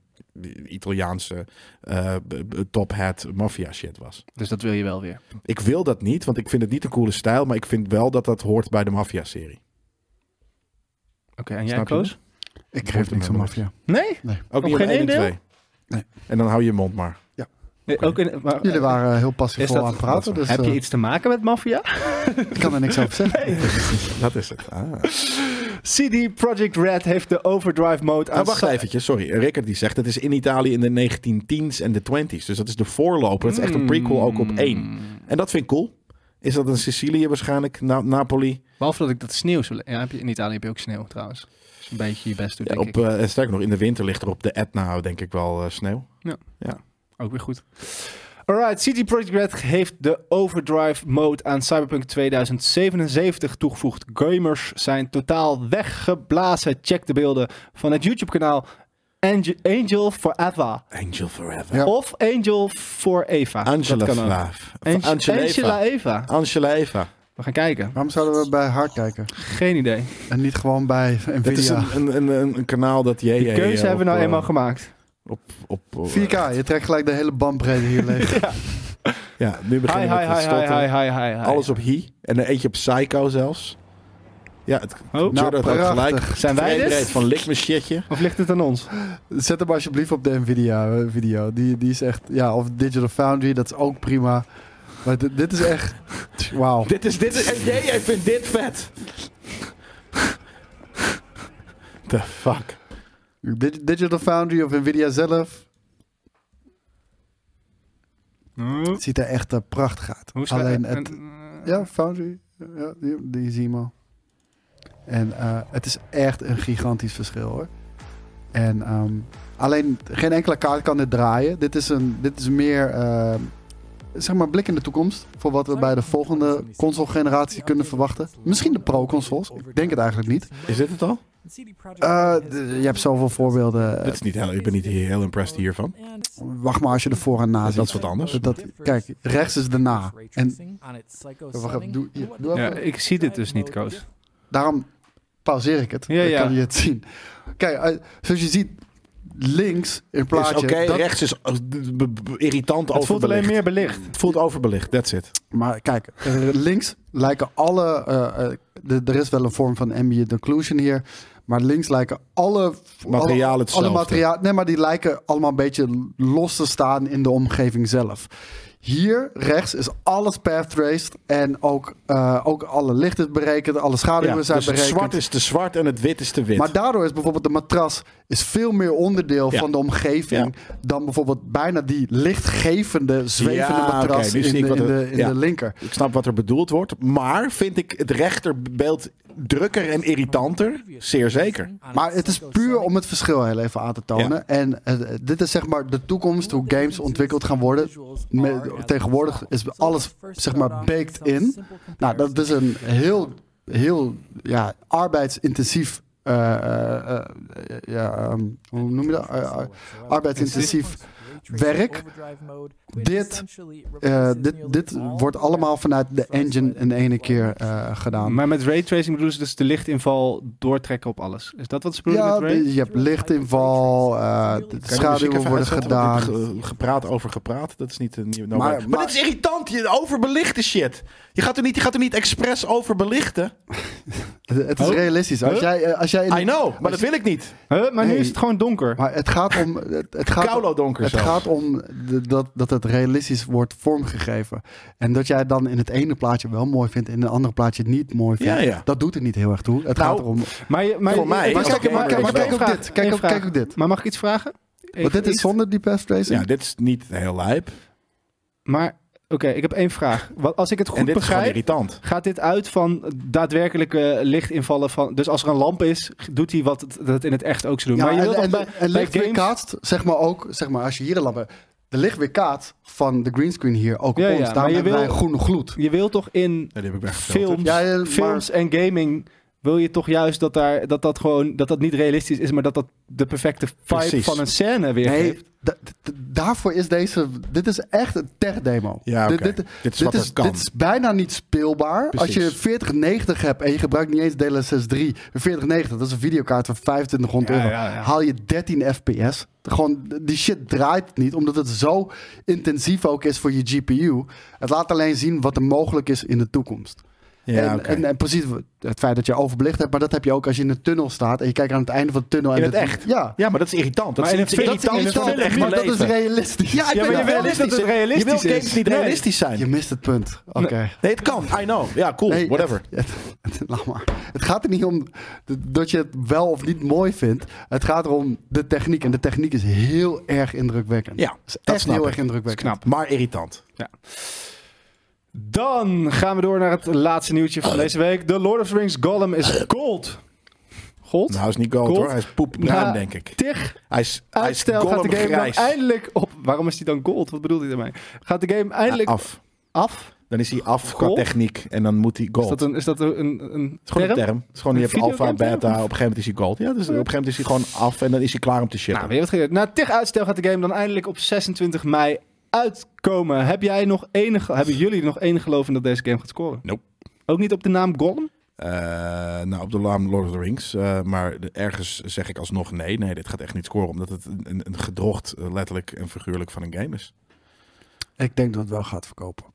Italiaanse eh, b- b- top hat Mafia-shit was.
Dus dat wil je wel weer.
Ik wil dat niet, want ik vind het niet een coole stijl. Maar ik vind wel dat dat hoort bij de Mafia-serie.
Oké, en jij
Snap je
Koos?
Ik geef niks aan Mafia.
Nee? Op
Ook niet
geen
geen 1 en
één deel?
2.
Nee.
En dan hou je mond maar.
Nee, ook in, maar,
Jullie waren eh, heel passief
Is
vol
dat-
aan het praten, dus
heb je
eh,
iets te maken met maffia?
ik kan er niks over zeggen.
Dat is het. Ah.
CD Project Red heeft de overdrive mode aan
Ah, wacht eventjes, sorry. Rickert die zegt, het is in Italië in de 1910s en de 20s. Dus dat is de voorloper. Het is echt een prequel ook op één.
Hmm.
En dat vind ik cool. Is dat in Sicilië waarschijnlijk, Na- Napoli?
Behalve dat ik dat sneeuw zou... Ja, heb je, in Italië heb je ook sneeuw trouwens. Dus een beetje je best doet,
Ja,
denk
op,
ik.
eh, sterker nog, in de winter ligt er op de Etna denk ik wel eh, sneeuw.
Ook weer goed. Alright, CD Projekt Red heeft de overdrive mode aan Cyberpunk 2077 toegevoegd. Gamers zijn totaal weggeblazen. Check de beelden van het YouTube kanaal Angel, Angel for Ava.
Angel Forever.
Ja.
Of Angel for Eva.
Angela
Dat kan ook.
Vaaf.
Ange-
Angela
Angela
Eva.
Eva.
Angela Eva.
We gaan kijken.
Waarom zouden we bij haar kijken?
Geen idee.
En niet gewoon bij
Het is
Nvidia?
een, een, een, een, een kanaal dat jij...
Die keuze hebben we nou eenmaal
op, eh,
gemaakt.
op, eh, op-
4K, je trekt gelijk de hele bandbreedte hier leeg.
Ja, nu
Hi, hi,
beginnen we met
hi,
het
hi, hi,
stotteren.
hi, hi, hi.
Alles op hi. En er eentje op psycho zelfs. Ja, het
Oh.
Jordan had
prachtig.
gelijk.
Zijn wij dus-
Framerate
dit?
Nou, van lik me shitje.
Of ligt het aan ons?
Zet hem alsjeblieft op de Nvidia eh, video. Die, die is echt, ja, of Digital Foundry, dat is ook prima. Maar dit, dit is echt, wauw.
Dit is, dit is, en jij, jij vindt dit vet. the fuck?
Dig- Digital Foundry of Nvidia zelf. Het ziet er echt eh, prachtig uit.
Hoe schrijf-
Alleen het,
en, eh,
Ja, Foundry. Ja, die, die zie je al. En eh, het is echt een gigantisch verschil hoor. En ehm, alleen geen enkele kaart kan dit draaien. Dit is, een, dit is meer, ehm, zeg maar, blik in de toekomst. Voor wat we bij de volgende console-generatie kunnen verwachten. Misschien de pro-consoles. Ik denk het eigenlijk niet.
Is dit het al?
Eh, d- je hebt zoveel voorbeelden.
Dit Eh, is niet heel, ik ben niet heel impressed hiervan.
Wacht maar als je ervoor en na
Dat
ziet.
is wat anders.
Dat, dat- kijk, rechts is de na. En Wacht even, doe- hier, doe
Ja, ik zie dit dus niet, Koos.
daarom pauzeer ik het.
Ja,
dan
ja.
kan je het zien. Kijk, eh, zoals je ziet, links in
Is
plaatje.
Oké,
dat-
rechts is eh, b- b- b- irritant
Het voelt alleen
overbelicht.
meer belicht.
Het voelt overbelicht, that's it.
Maar kijk, eh, links lijken alle. eh, eh, de, er is wel een vorm van ambient occlusion hier. Maar links lijken alle.
Materiaal
alle-
hetzelfde.
Alle materiaal. Nee, maar die lijken allemaal een beetje los te staan in de omgeving zelf. Hier rechts is alles path traced. En ook, eh, ook alle licht is berekend. Alle schaduwen
Ja, dus
zijn
het
berekend.
zwart is te zwart en het wit is te wit.
Maar daardoor is bijvoorbeeld de matras is veel meer onderdeel
Ja.
van de omgeving dan bijvoorbeeld bijna die lichtgevende, zwevende
Ja,
matras
oké, nu zie
in,
ik
de,
wat
in,
het-
de, in
ja.
de linker.
Ik snap wat er bedoeld wordt, maar vind ik het rechterbeeld drukker en irritanter? Zeer zeker.
Maar het is puur om het verschil heel even aan te tonen. En eh, dit is zeg maar de toekomst, hoe games ontwikkeld gaan worden. Me- tegenwoordig is alles zeg maar baked in. Nou, dat is een heel, heel ja, arbeidsintensief. eh, eh, eh, ja, ehm, hoe noem je dat? Eh, eh, arbeidsintensief werk. Dit, eh, dit, dit wordt allemaal vanuit de engine in de ene keer eh, gedaan.
Maar met raytracing bedoelen ze dus de lichtinval doortrekken op alles. Is dat wat ze bedoelen
Ja,
met ray?
je hebt lichtinval, eh, de
Kan je de muziek
schaduwen
even
worden
uitzetten? Want
gedaan.
dit ge- Gepraat over gepraat, dat is niet... eh, niet- nou,
Maar-
maar, maar,
maar-
dit is irritant, je overbelichte shit. Je gaat er niet, je gaat er niet expres overbelichten.
Het is
Oh.
realistisch. Als
Huh?
jij, eh, als jij in de-
I know, maar dat wil ik niet.
Huh? Maar nu
Nee.
is het gewoon donker.
Maar het gaat om. Het, het gaat,
Koulo donker
het
zelfs.
gaat om de- dat, dat het realistisch wordt vormgegeven. En dat jij het dan in het ene plaatje wel mooi vindt en in het andere plaatje niet mooi vindt.
Ja, ja.
Dat doet er niet heel erg toe. Het
Nou,
gaat erom.
Maar, je- maar,
Voor mij
Maar
is
kijk,
dat
maar, kijk,
wel.
maar kijk ook dit. Kijk ook, kijk
ook
dit.
dit.
Maar mag ik iets vragen? Even
Want dit is
iets.
zonder die path tracing.
Dus Ja, dit is niet heel lijp.
Maar oké, ik heb één vraag. Wat, als ik het
en
goed
dit is gewoon
begrijp,
irritant.
gaat dit uit van daadwerkelijke lichtinvallen van. Dus als er een lamp is, doet hij wat het, dat in het echt ook zo doen.
Ja,
maar je
en,
wilt
en,
toch bij,
en
bij
licht
games-
weerkaatst, zeg maar ook, zeg maar, als je hier een lamp hebt, de licht weerkaatst van de greenscreen hier ook
Ja,
op
ja,
ons.
maar
Daarom
je
hebben wij
wil-
een groene gloed.
Je wilt toch in
Ja, die heb ik weggefilterd.
films,
Ja, ja, maar-
films en gaming. Wil je toch juist dat daar, dat, dat gewoon, dat dat niet realistisch is, maar dat dat de perfecte vibe
Precies.
van een scène weer
Nee,
geeft?
da- da- daarvoor is deze. Dit is echt een tech-demo.
Ja, oké.
dit, dit,
Dit is
dit
wat er
is,
kan.
dit is bijna niet speelbaar.
Precies.
Als je 4090 hebt en je gebruikt niet eens DLSS 3, een 4090, dat is een videokaart van 2500
Ja,
euro,
ja, ja.
haal je 13 FPS. Gewoon, die shit draait niet, omdat het zo intensief ook is voor je GPU. Het laat alleen zien wat er mogelijk is in de toekomst.
Ja,
en,
oké.
en, en precies het feit dat je overbelicht hebt, maar dat heb je ook als je in een tunnel staat en je kijkt aan het einde van de tunnel. en
In het
dat-
echt?
Ja.
ja, maar dat is irritant. Dat
Maar
is
in
iets
een film-
irritants
in een
van het
film-
echte
maar dat
leven.
is realistisch.
Ja,
Ja,
ik ben
maar je wil
wel
niet dat het
Je wil
realistisch
games
is.
niet
Nee.
realistisch zijn.
Je mist het punt. Oké.
Nee, het kan. I know. Ja, cool.
Nee,
Whatever.
Het, het- laat maar. Het gaat er niet om d- dat je het wel of niet mooi vindt. Het gaat erom de techniek. En de techniek is heel erg indrukwekkend.
Ja,
is
dat
echt
snap
heel
ik.
erg indrukwekkend.
Knap.
Maar irritant.
Dan gaan we door naar het laatste nieuwtje van deze week. The Lord of the Rings Gollum is gold. Gold?
Nou, hij is niet gold,
Gold?
hoor. Hij is poepbruin,
Ja.
denk ik.
Tig
Hij is, hij is
uitstel gaat de game dan
golemgrijs.
eindelijk op. Waarom is die dan gold? Wat bedoelt hij daarmee? Gaat de game eindelijk af?
af. Dan is hij af qua
Gold?
techniek en dan moet hij gold.
Is dat een, is dat een, een, een
Het is gewoon
term?
een term. Het is gewoon, je
Een
hebt alpha,
videogameterm?
beta, op een gegeven moment is hij gold. Ja, dus op een gegeven moment is hij gewoon af en dan is hij klaar om te shippen.
Nou, weer wat gebeurd. Na tig uitstel gaat de game dan eindelijk op 26 mei uitkomen. Heb jij nog enige, hebben jullie nog enig geloof in dat deze game gaat scoren?
Nope.
Ook niet op de naam Gollum?
Eh, nou, op de naam Lord of the Rings. eh, maar de- ergens zeg ik alsnog nee. Nee, dit gaat echt niet scoren. Omdat het een, een- een gedrocht, eh, letterlijk en figuurlijk, van een game is.
Ik denk dat het wel gaat verkopen.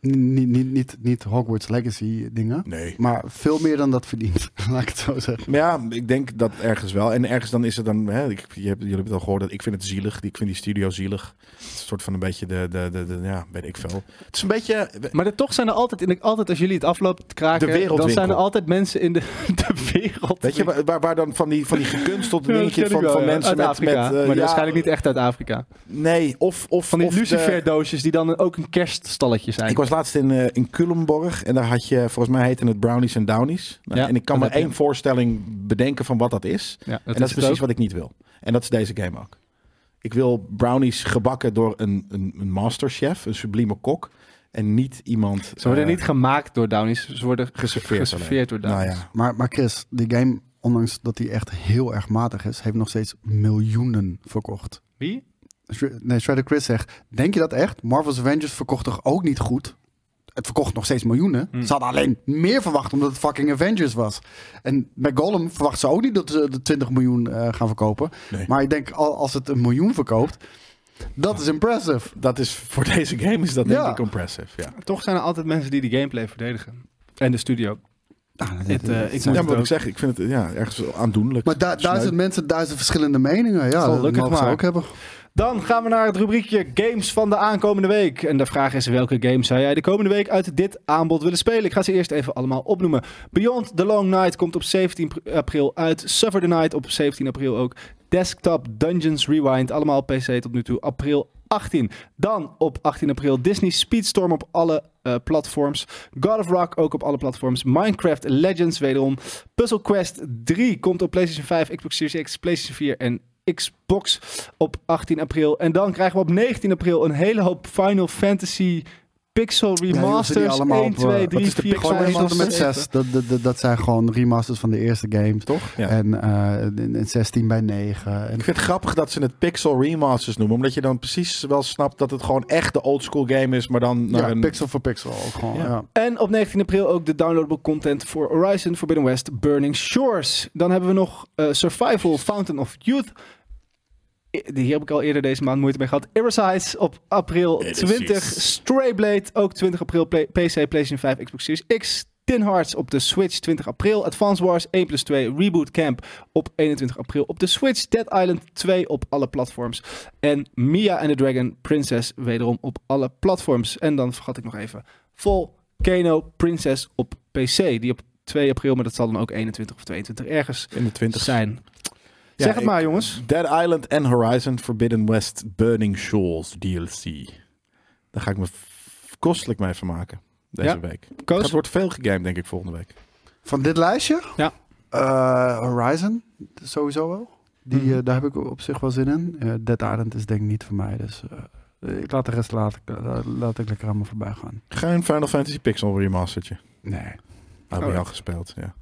Niet, niet, niet, niet Hogwarts Legacy dingen.
Nee.
Maar veel meer dan dat verdient, laat ik het zo zeggen.
Maar ja, ik denk dat ergens wel. En ergens dan is het dan... Hè, ik, je hebt, jullie hebben het al gehoord. dat Ik vind het zielig. Ik vind die studio zielig. Het is een soort van een beetje de... de, de, de ja, weet ik veel. Het is een beetje...
Maar er, toch zijn er altijd, in de- altijd, als jullie het afloopt,
De
kraken, dan
wereldwinkel.
zijn er altijd mensen in de, de wereld.
Weet je, waar- waar, waar dan van die, van die gekunstelde dingetjes van, van mensen
uit
met...
Afrika,
met eh,
maar die
ja,
waarschijnlijk niet echt uit Afrika.
Nee, of... of
Van die
of de-
luciferdoosjes die dan ook een kerststalletje zijn.
Ik was laatst in, eh, in Culemborg en daar had je, volgens mij heette het Brownies en Downies. Nou,
Ja,
en ik kan
dat
maar
heb je.
één voorstelling bedenken van wat dat is.
ja, dat
en dat is
het
precies
ook.
wat ik niet wil. En dat is deze game ook. Ik wil brownies gebakken door een, een, een masterchef, een sublieme kok. En niet iemand...
Ze worden
eh,
niet gemaakt door Downies, ze worden
geserveerd.
geserveerd door
alleen.
Downies.
Nou ja.
Maar, maar Chris, die game, ondanks dat die echt heel erg matig is, heeft nog steeds miljoenen verkocht.
Wie?
Shre- Nee, Shredder Chris zegt, denk je dat echt? Marvel's Avengers verkocht toch ook niet goed? Het verkocht nog steeds miljoenen. Ze hadden alleen meer verwacht omdat het fucking Avengers was. En bij Gollum verwachten ze ook niet dat ze de 20 miljoen eh, gaan verkopen.
Nee.
Maar ik denk, al- als het een miljoen verkoopt, dat is impressive.
Dat is voor deze game is dat denk
Ja.
ik impressive. Ja.
Toch zijn er altijd mensen die de gameplay verdedigen. En de studio.
Nou,
Dit, eh, ik
Ja,
moet
maar
het
wat ik
ook-
zeg, ik vind het ja, ergens aandoenlijk.
Maar du-
Sneu.
duizend mensen, duizend verschillende meningen. Ja, dat
Gelukkig
mogen ze
maar.
ook hebben.
Dan gaan we naar het rubriekje Games van de aankomende week. En de vraag is: welke games zou jij de komende week uit dit aanbod willen spelen? Ik ga ze eerst even allemaal opnoemen. Beyond the Long Night komt op 17 pr- april uit. Suffer the Night op 17 april ook. Desktop Dungeons Rewind, allemaal PC tot nu toe, april 18. Dan op 18 april Disney Speedstorm op alle eh, platforms. God of Rock ook op alle platforms. Minecraft Legends wederom. Puzzle Quest 3 komt op PlayStation 5, Xbox Series X, PlayStation 4 en Xbox op 18 april. En dan krijgen we op 19 april een hele hoop Final Fantasy Pixel
Ja, joh, ze die
Remasters.
allemaal
1,
op, eh,
2,
wat
3,
is de
4,
Pixel
5,
Remasters tot en met
7.
6. Dat, dat, dat, dat zijn gewoon remasters van de eerste games.
toch? Ja.
En eh, en- en 16 bij 9. En
Ik vind het grappig dat ze het Pixel Remasters noemen. Omdat je dan precies wel snapt dat het gewoon echt de oldschool game is. Maar dan naar
ja,
een...
pixel voor pixel ook gewoon.
Ja.
Ja.
En op 19 april ook de downloadable content voor Horizon Forbidden West Burning Shores. Dan hebben we nog eh, Survival Fountain of Youth. I- die- Hier heb ik al eerder deze maand moeite mee gehad. Irisize op april 20. Strayblade ook 20 april. Play- PC, PlayStation 5, Xbox Series X. Tin Hearts op de Switch 20 april. Advance Wars 1 plus 2. Reboot Camp op 21 april op de Switch. Dead Island 2 op alle platforms. En Mia and the Dragon Princess wederom op alle platforms. En dan vergat ik nog even. Volcano Princess op PC. Die op 2 april, maar dat zal dan ook 21 of 22 ergens
In de 20
zijn.
Ja,
zeg het
ik-
maar jongens.
Dead Island en Horizon Forbidden West Burning Shoals DLC. Daar ga ik me f- kostelijk mee vermaken deze
Ja?
week.
Koos?
Het wordt veel gegamed, denk ik, volgende week.
Van dit lijstje?
Ja.
Eh, Horizon, sowieso wel. Die,
Mhm.
eh, daar heb ik op zich wel zin in. Eh, Dead Island is denk ik niet voor mij. Dus eh, ik laat de rest laat, ik- la- laat ik lekker aan me voorbij gaan.
Geen Final Fantasy Pixel remastertje.
Nee.
Heb
Oh,
je
ja.
al gespeeld, ja.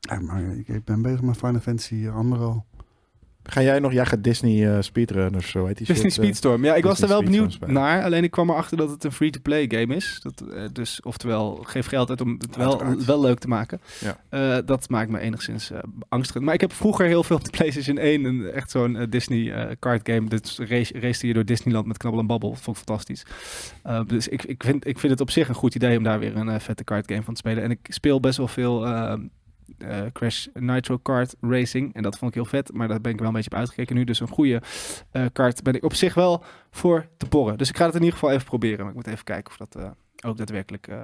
Ja, maar ik, ik ben bezig met Final Fantasy eh, anderal.
Ga jij nog, jij gaat Disney eh speedrunners, zo heet die
Disney
shit, eh,
Speedstorm. Ja, ik was er
Disney
wel benieuwd
Speedstorm
naar. Alleen ik kwam erachter dat het een free-to-play game is. Dat, eh, dus oftewel, geef geld uit om het wel,
Uiteraard.
wel leuk te maken.
Ja.
Eh, dat maakt me enigszins eh angstig. Maar ik heb vroeger heel veel op de PlayStation 1 een, echt zo'n eh, Disney eh, card game. Dus race, race je door Disneyland met knabbel en babbel. Dat vond ik fantastisch. Eh, dus ik, ik, vind, ik vind het op zich een goed idee om daar weer een eh, vette card game van te spelen. En ik speel best wel veel eh, eh, Crash Nitro Kart Racing. En dat vond ik heel vet. Maar daar ben ik wel een beetje op uitgekeken nu. Dus een goede eh kaart ben ik op zich wel voor te porren. Dus ik ga het in ieder geval even proberen. Maar ik moet even kijken of dat eh, ook daadwerkelijk eh,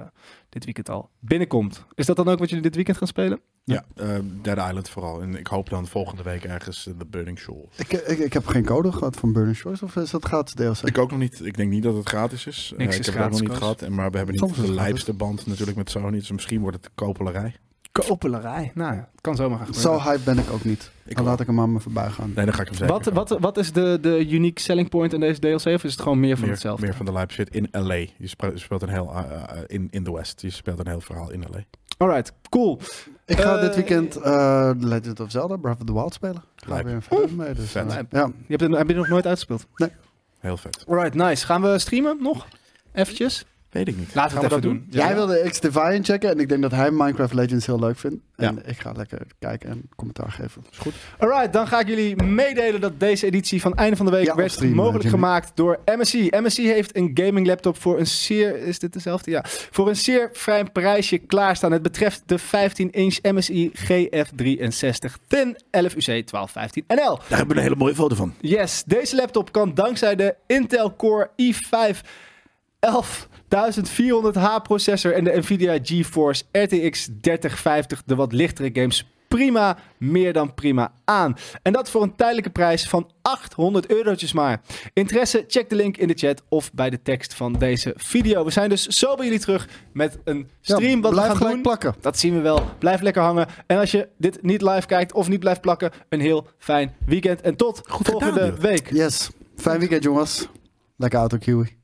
dit weekend al binnenkomt. Is dat dan ook wat jullie dit weekend gaan spelen?
Ja, eh, Dead Island vooral. En ik hoop dan volgende week ergens eh, de Burning Shoals.
Ik, eh, ik, ik heb geen code gehad van Burning Shores. Of is dat gratis DLC?
Ik ook nog niet. Ik denk niet dat het gratis is. Eh,
Niks is
ik heb het ook nog
gratis,
niet
Koos.
gehad. En, maar we hebben
Soms
niet
is het
de
gratis.
lijpste band natuurlijk met Sony. Dus misschien wordt het kopelerij.
Kopelerij. Nou ja, het kan zomaar gaan gebeuren.
Zo hype ben ik ook niet.
Ik
Dan
ook.
laat ik hem aan me voorbij gaan.
Nee, dan ga ik hem zeker
wat,
kopen.
wat, wat is de, de unique selling point in deze DLC? Of is het gewoon meer van
meer,
hetzelfde?
Meer van de lijp zit in LA. Je spra- je speelt een heel eh, eh, in, in de West. Je speelt een heel verhaal in LA.
Alright, cool.
Ik ga
Eh,
dit weekend eh, Legend of Zelda Breath of the Wild spelen. Ik ga
Lijp.
weer een film mee. Dus,
Vet.
eh,
Lijp.
ja.
Je hebt het, heb je het nog nooit uitgespeeld?
Heel vet.
Alright, nice. Gaan we streamen nog? Eventjes?
Weet ik niet.
Laten we
Gaan
het even doen.
Jij
Ja.
wilde X-Defiant checken en ik denk dat hij Minecraft Legends heel leuk vindt. En
Ja.
ik ga lekker kijken en commentaar geven.
Alright, dan ga ik jullie meedelen dat deze editie van Einde van de Week
Ja,
werd
op stream, eh,
mogelijk
Jimmy.
gemaakt door MSI. MSI heeft een gaming laptop voor een zeer, is dit dezelfde? Ja. Voor een zeer fijn prijsje klaarstaan. Het betreft de 15-inch MSI GF63 10 11UC 1215 NL.
Daar hebben we een hele mooie foto van.
Yes, deze laptop kan dankzij de Intel Core i5 11400H processor en de Nvidia GeForce RTX 3050 de wat lichtere games prima, meer dan prima aan. En dat voor een tijdelijke prijs van 800 eurotjes maar. Interesse? Check de link in de chat of bij de tekst van deze video. We zijn dus zo bij jullie terug met een
Ja,
stream wat we
blijf
gaan
gelijk
doen.
plakken.
Dat zien we wel. Blijf lekker hangen. En als je dit niet live kijkt of niet blijft plakken, een heel fijn weekend. En tot volgende
gedaan, joh.
week.
Yes. Fijn weekend, jongens. Lekker auto, Kiwi.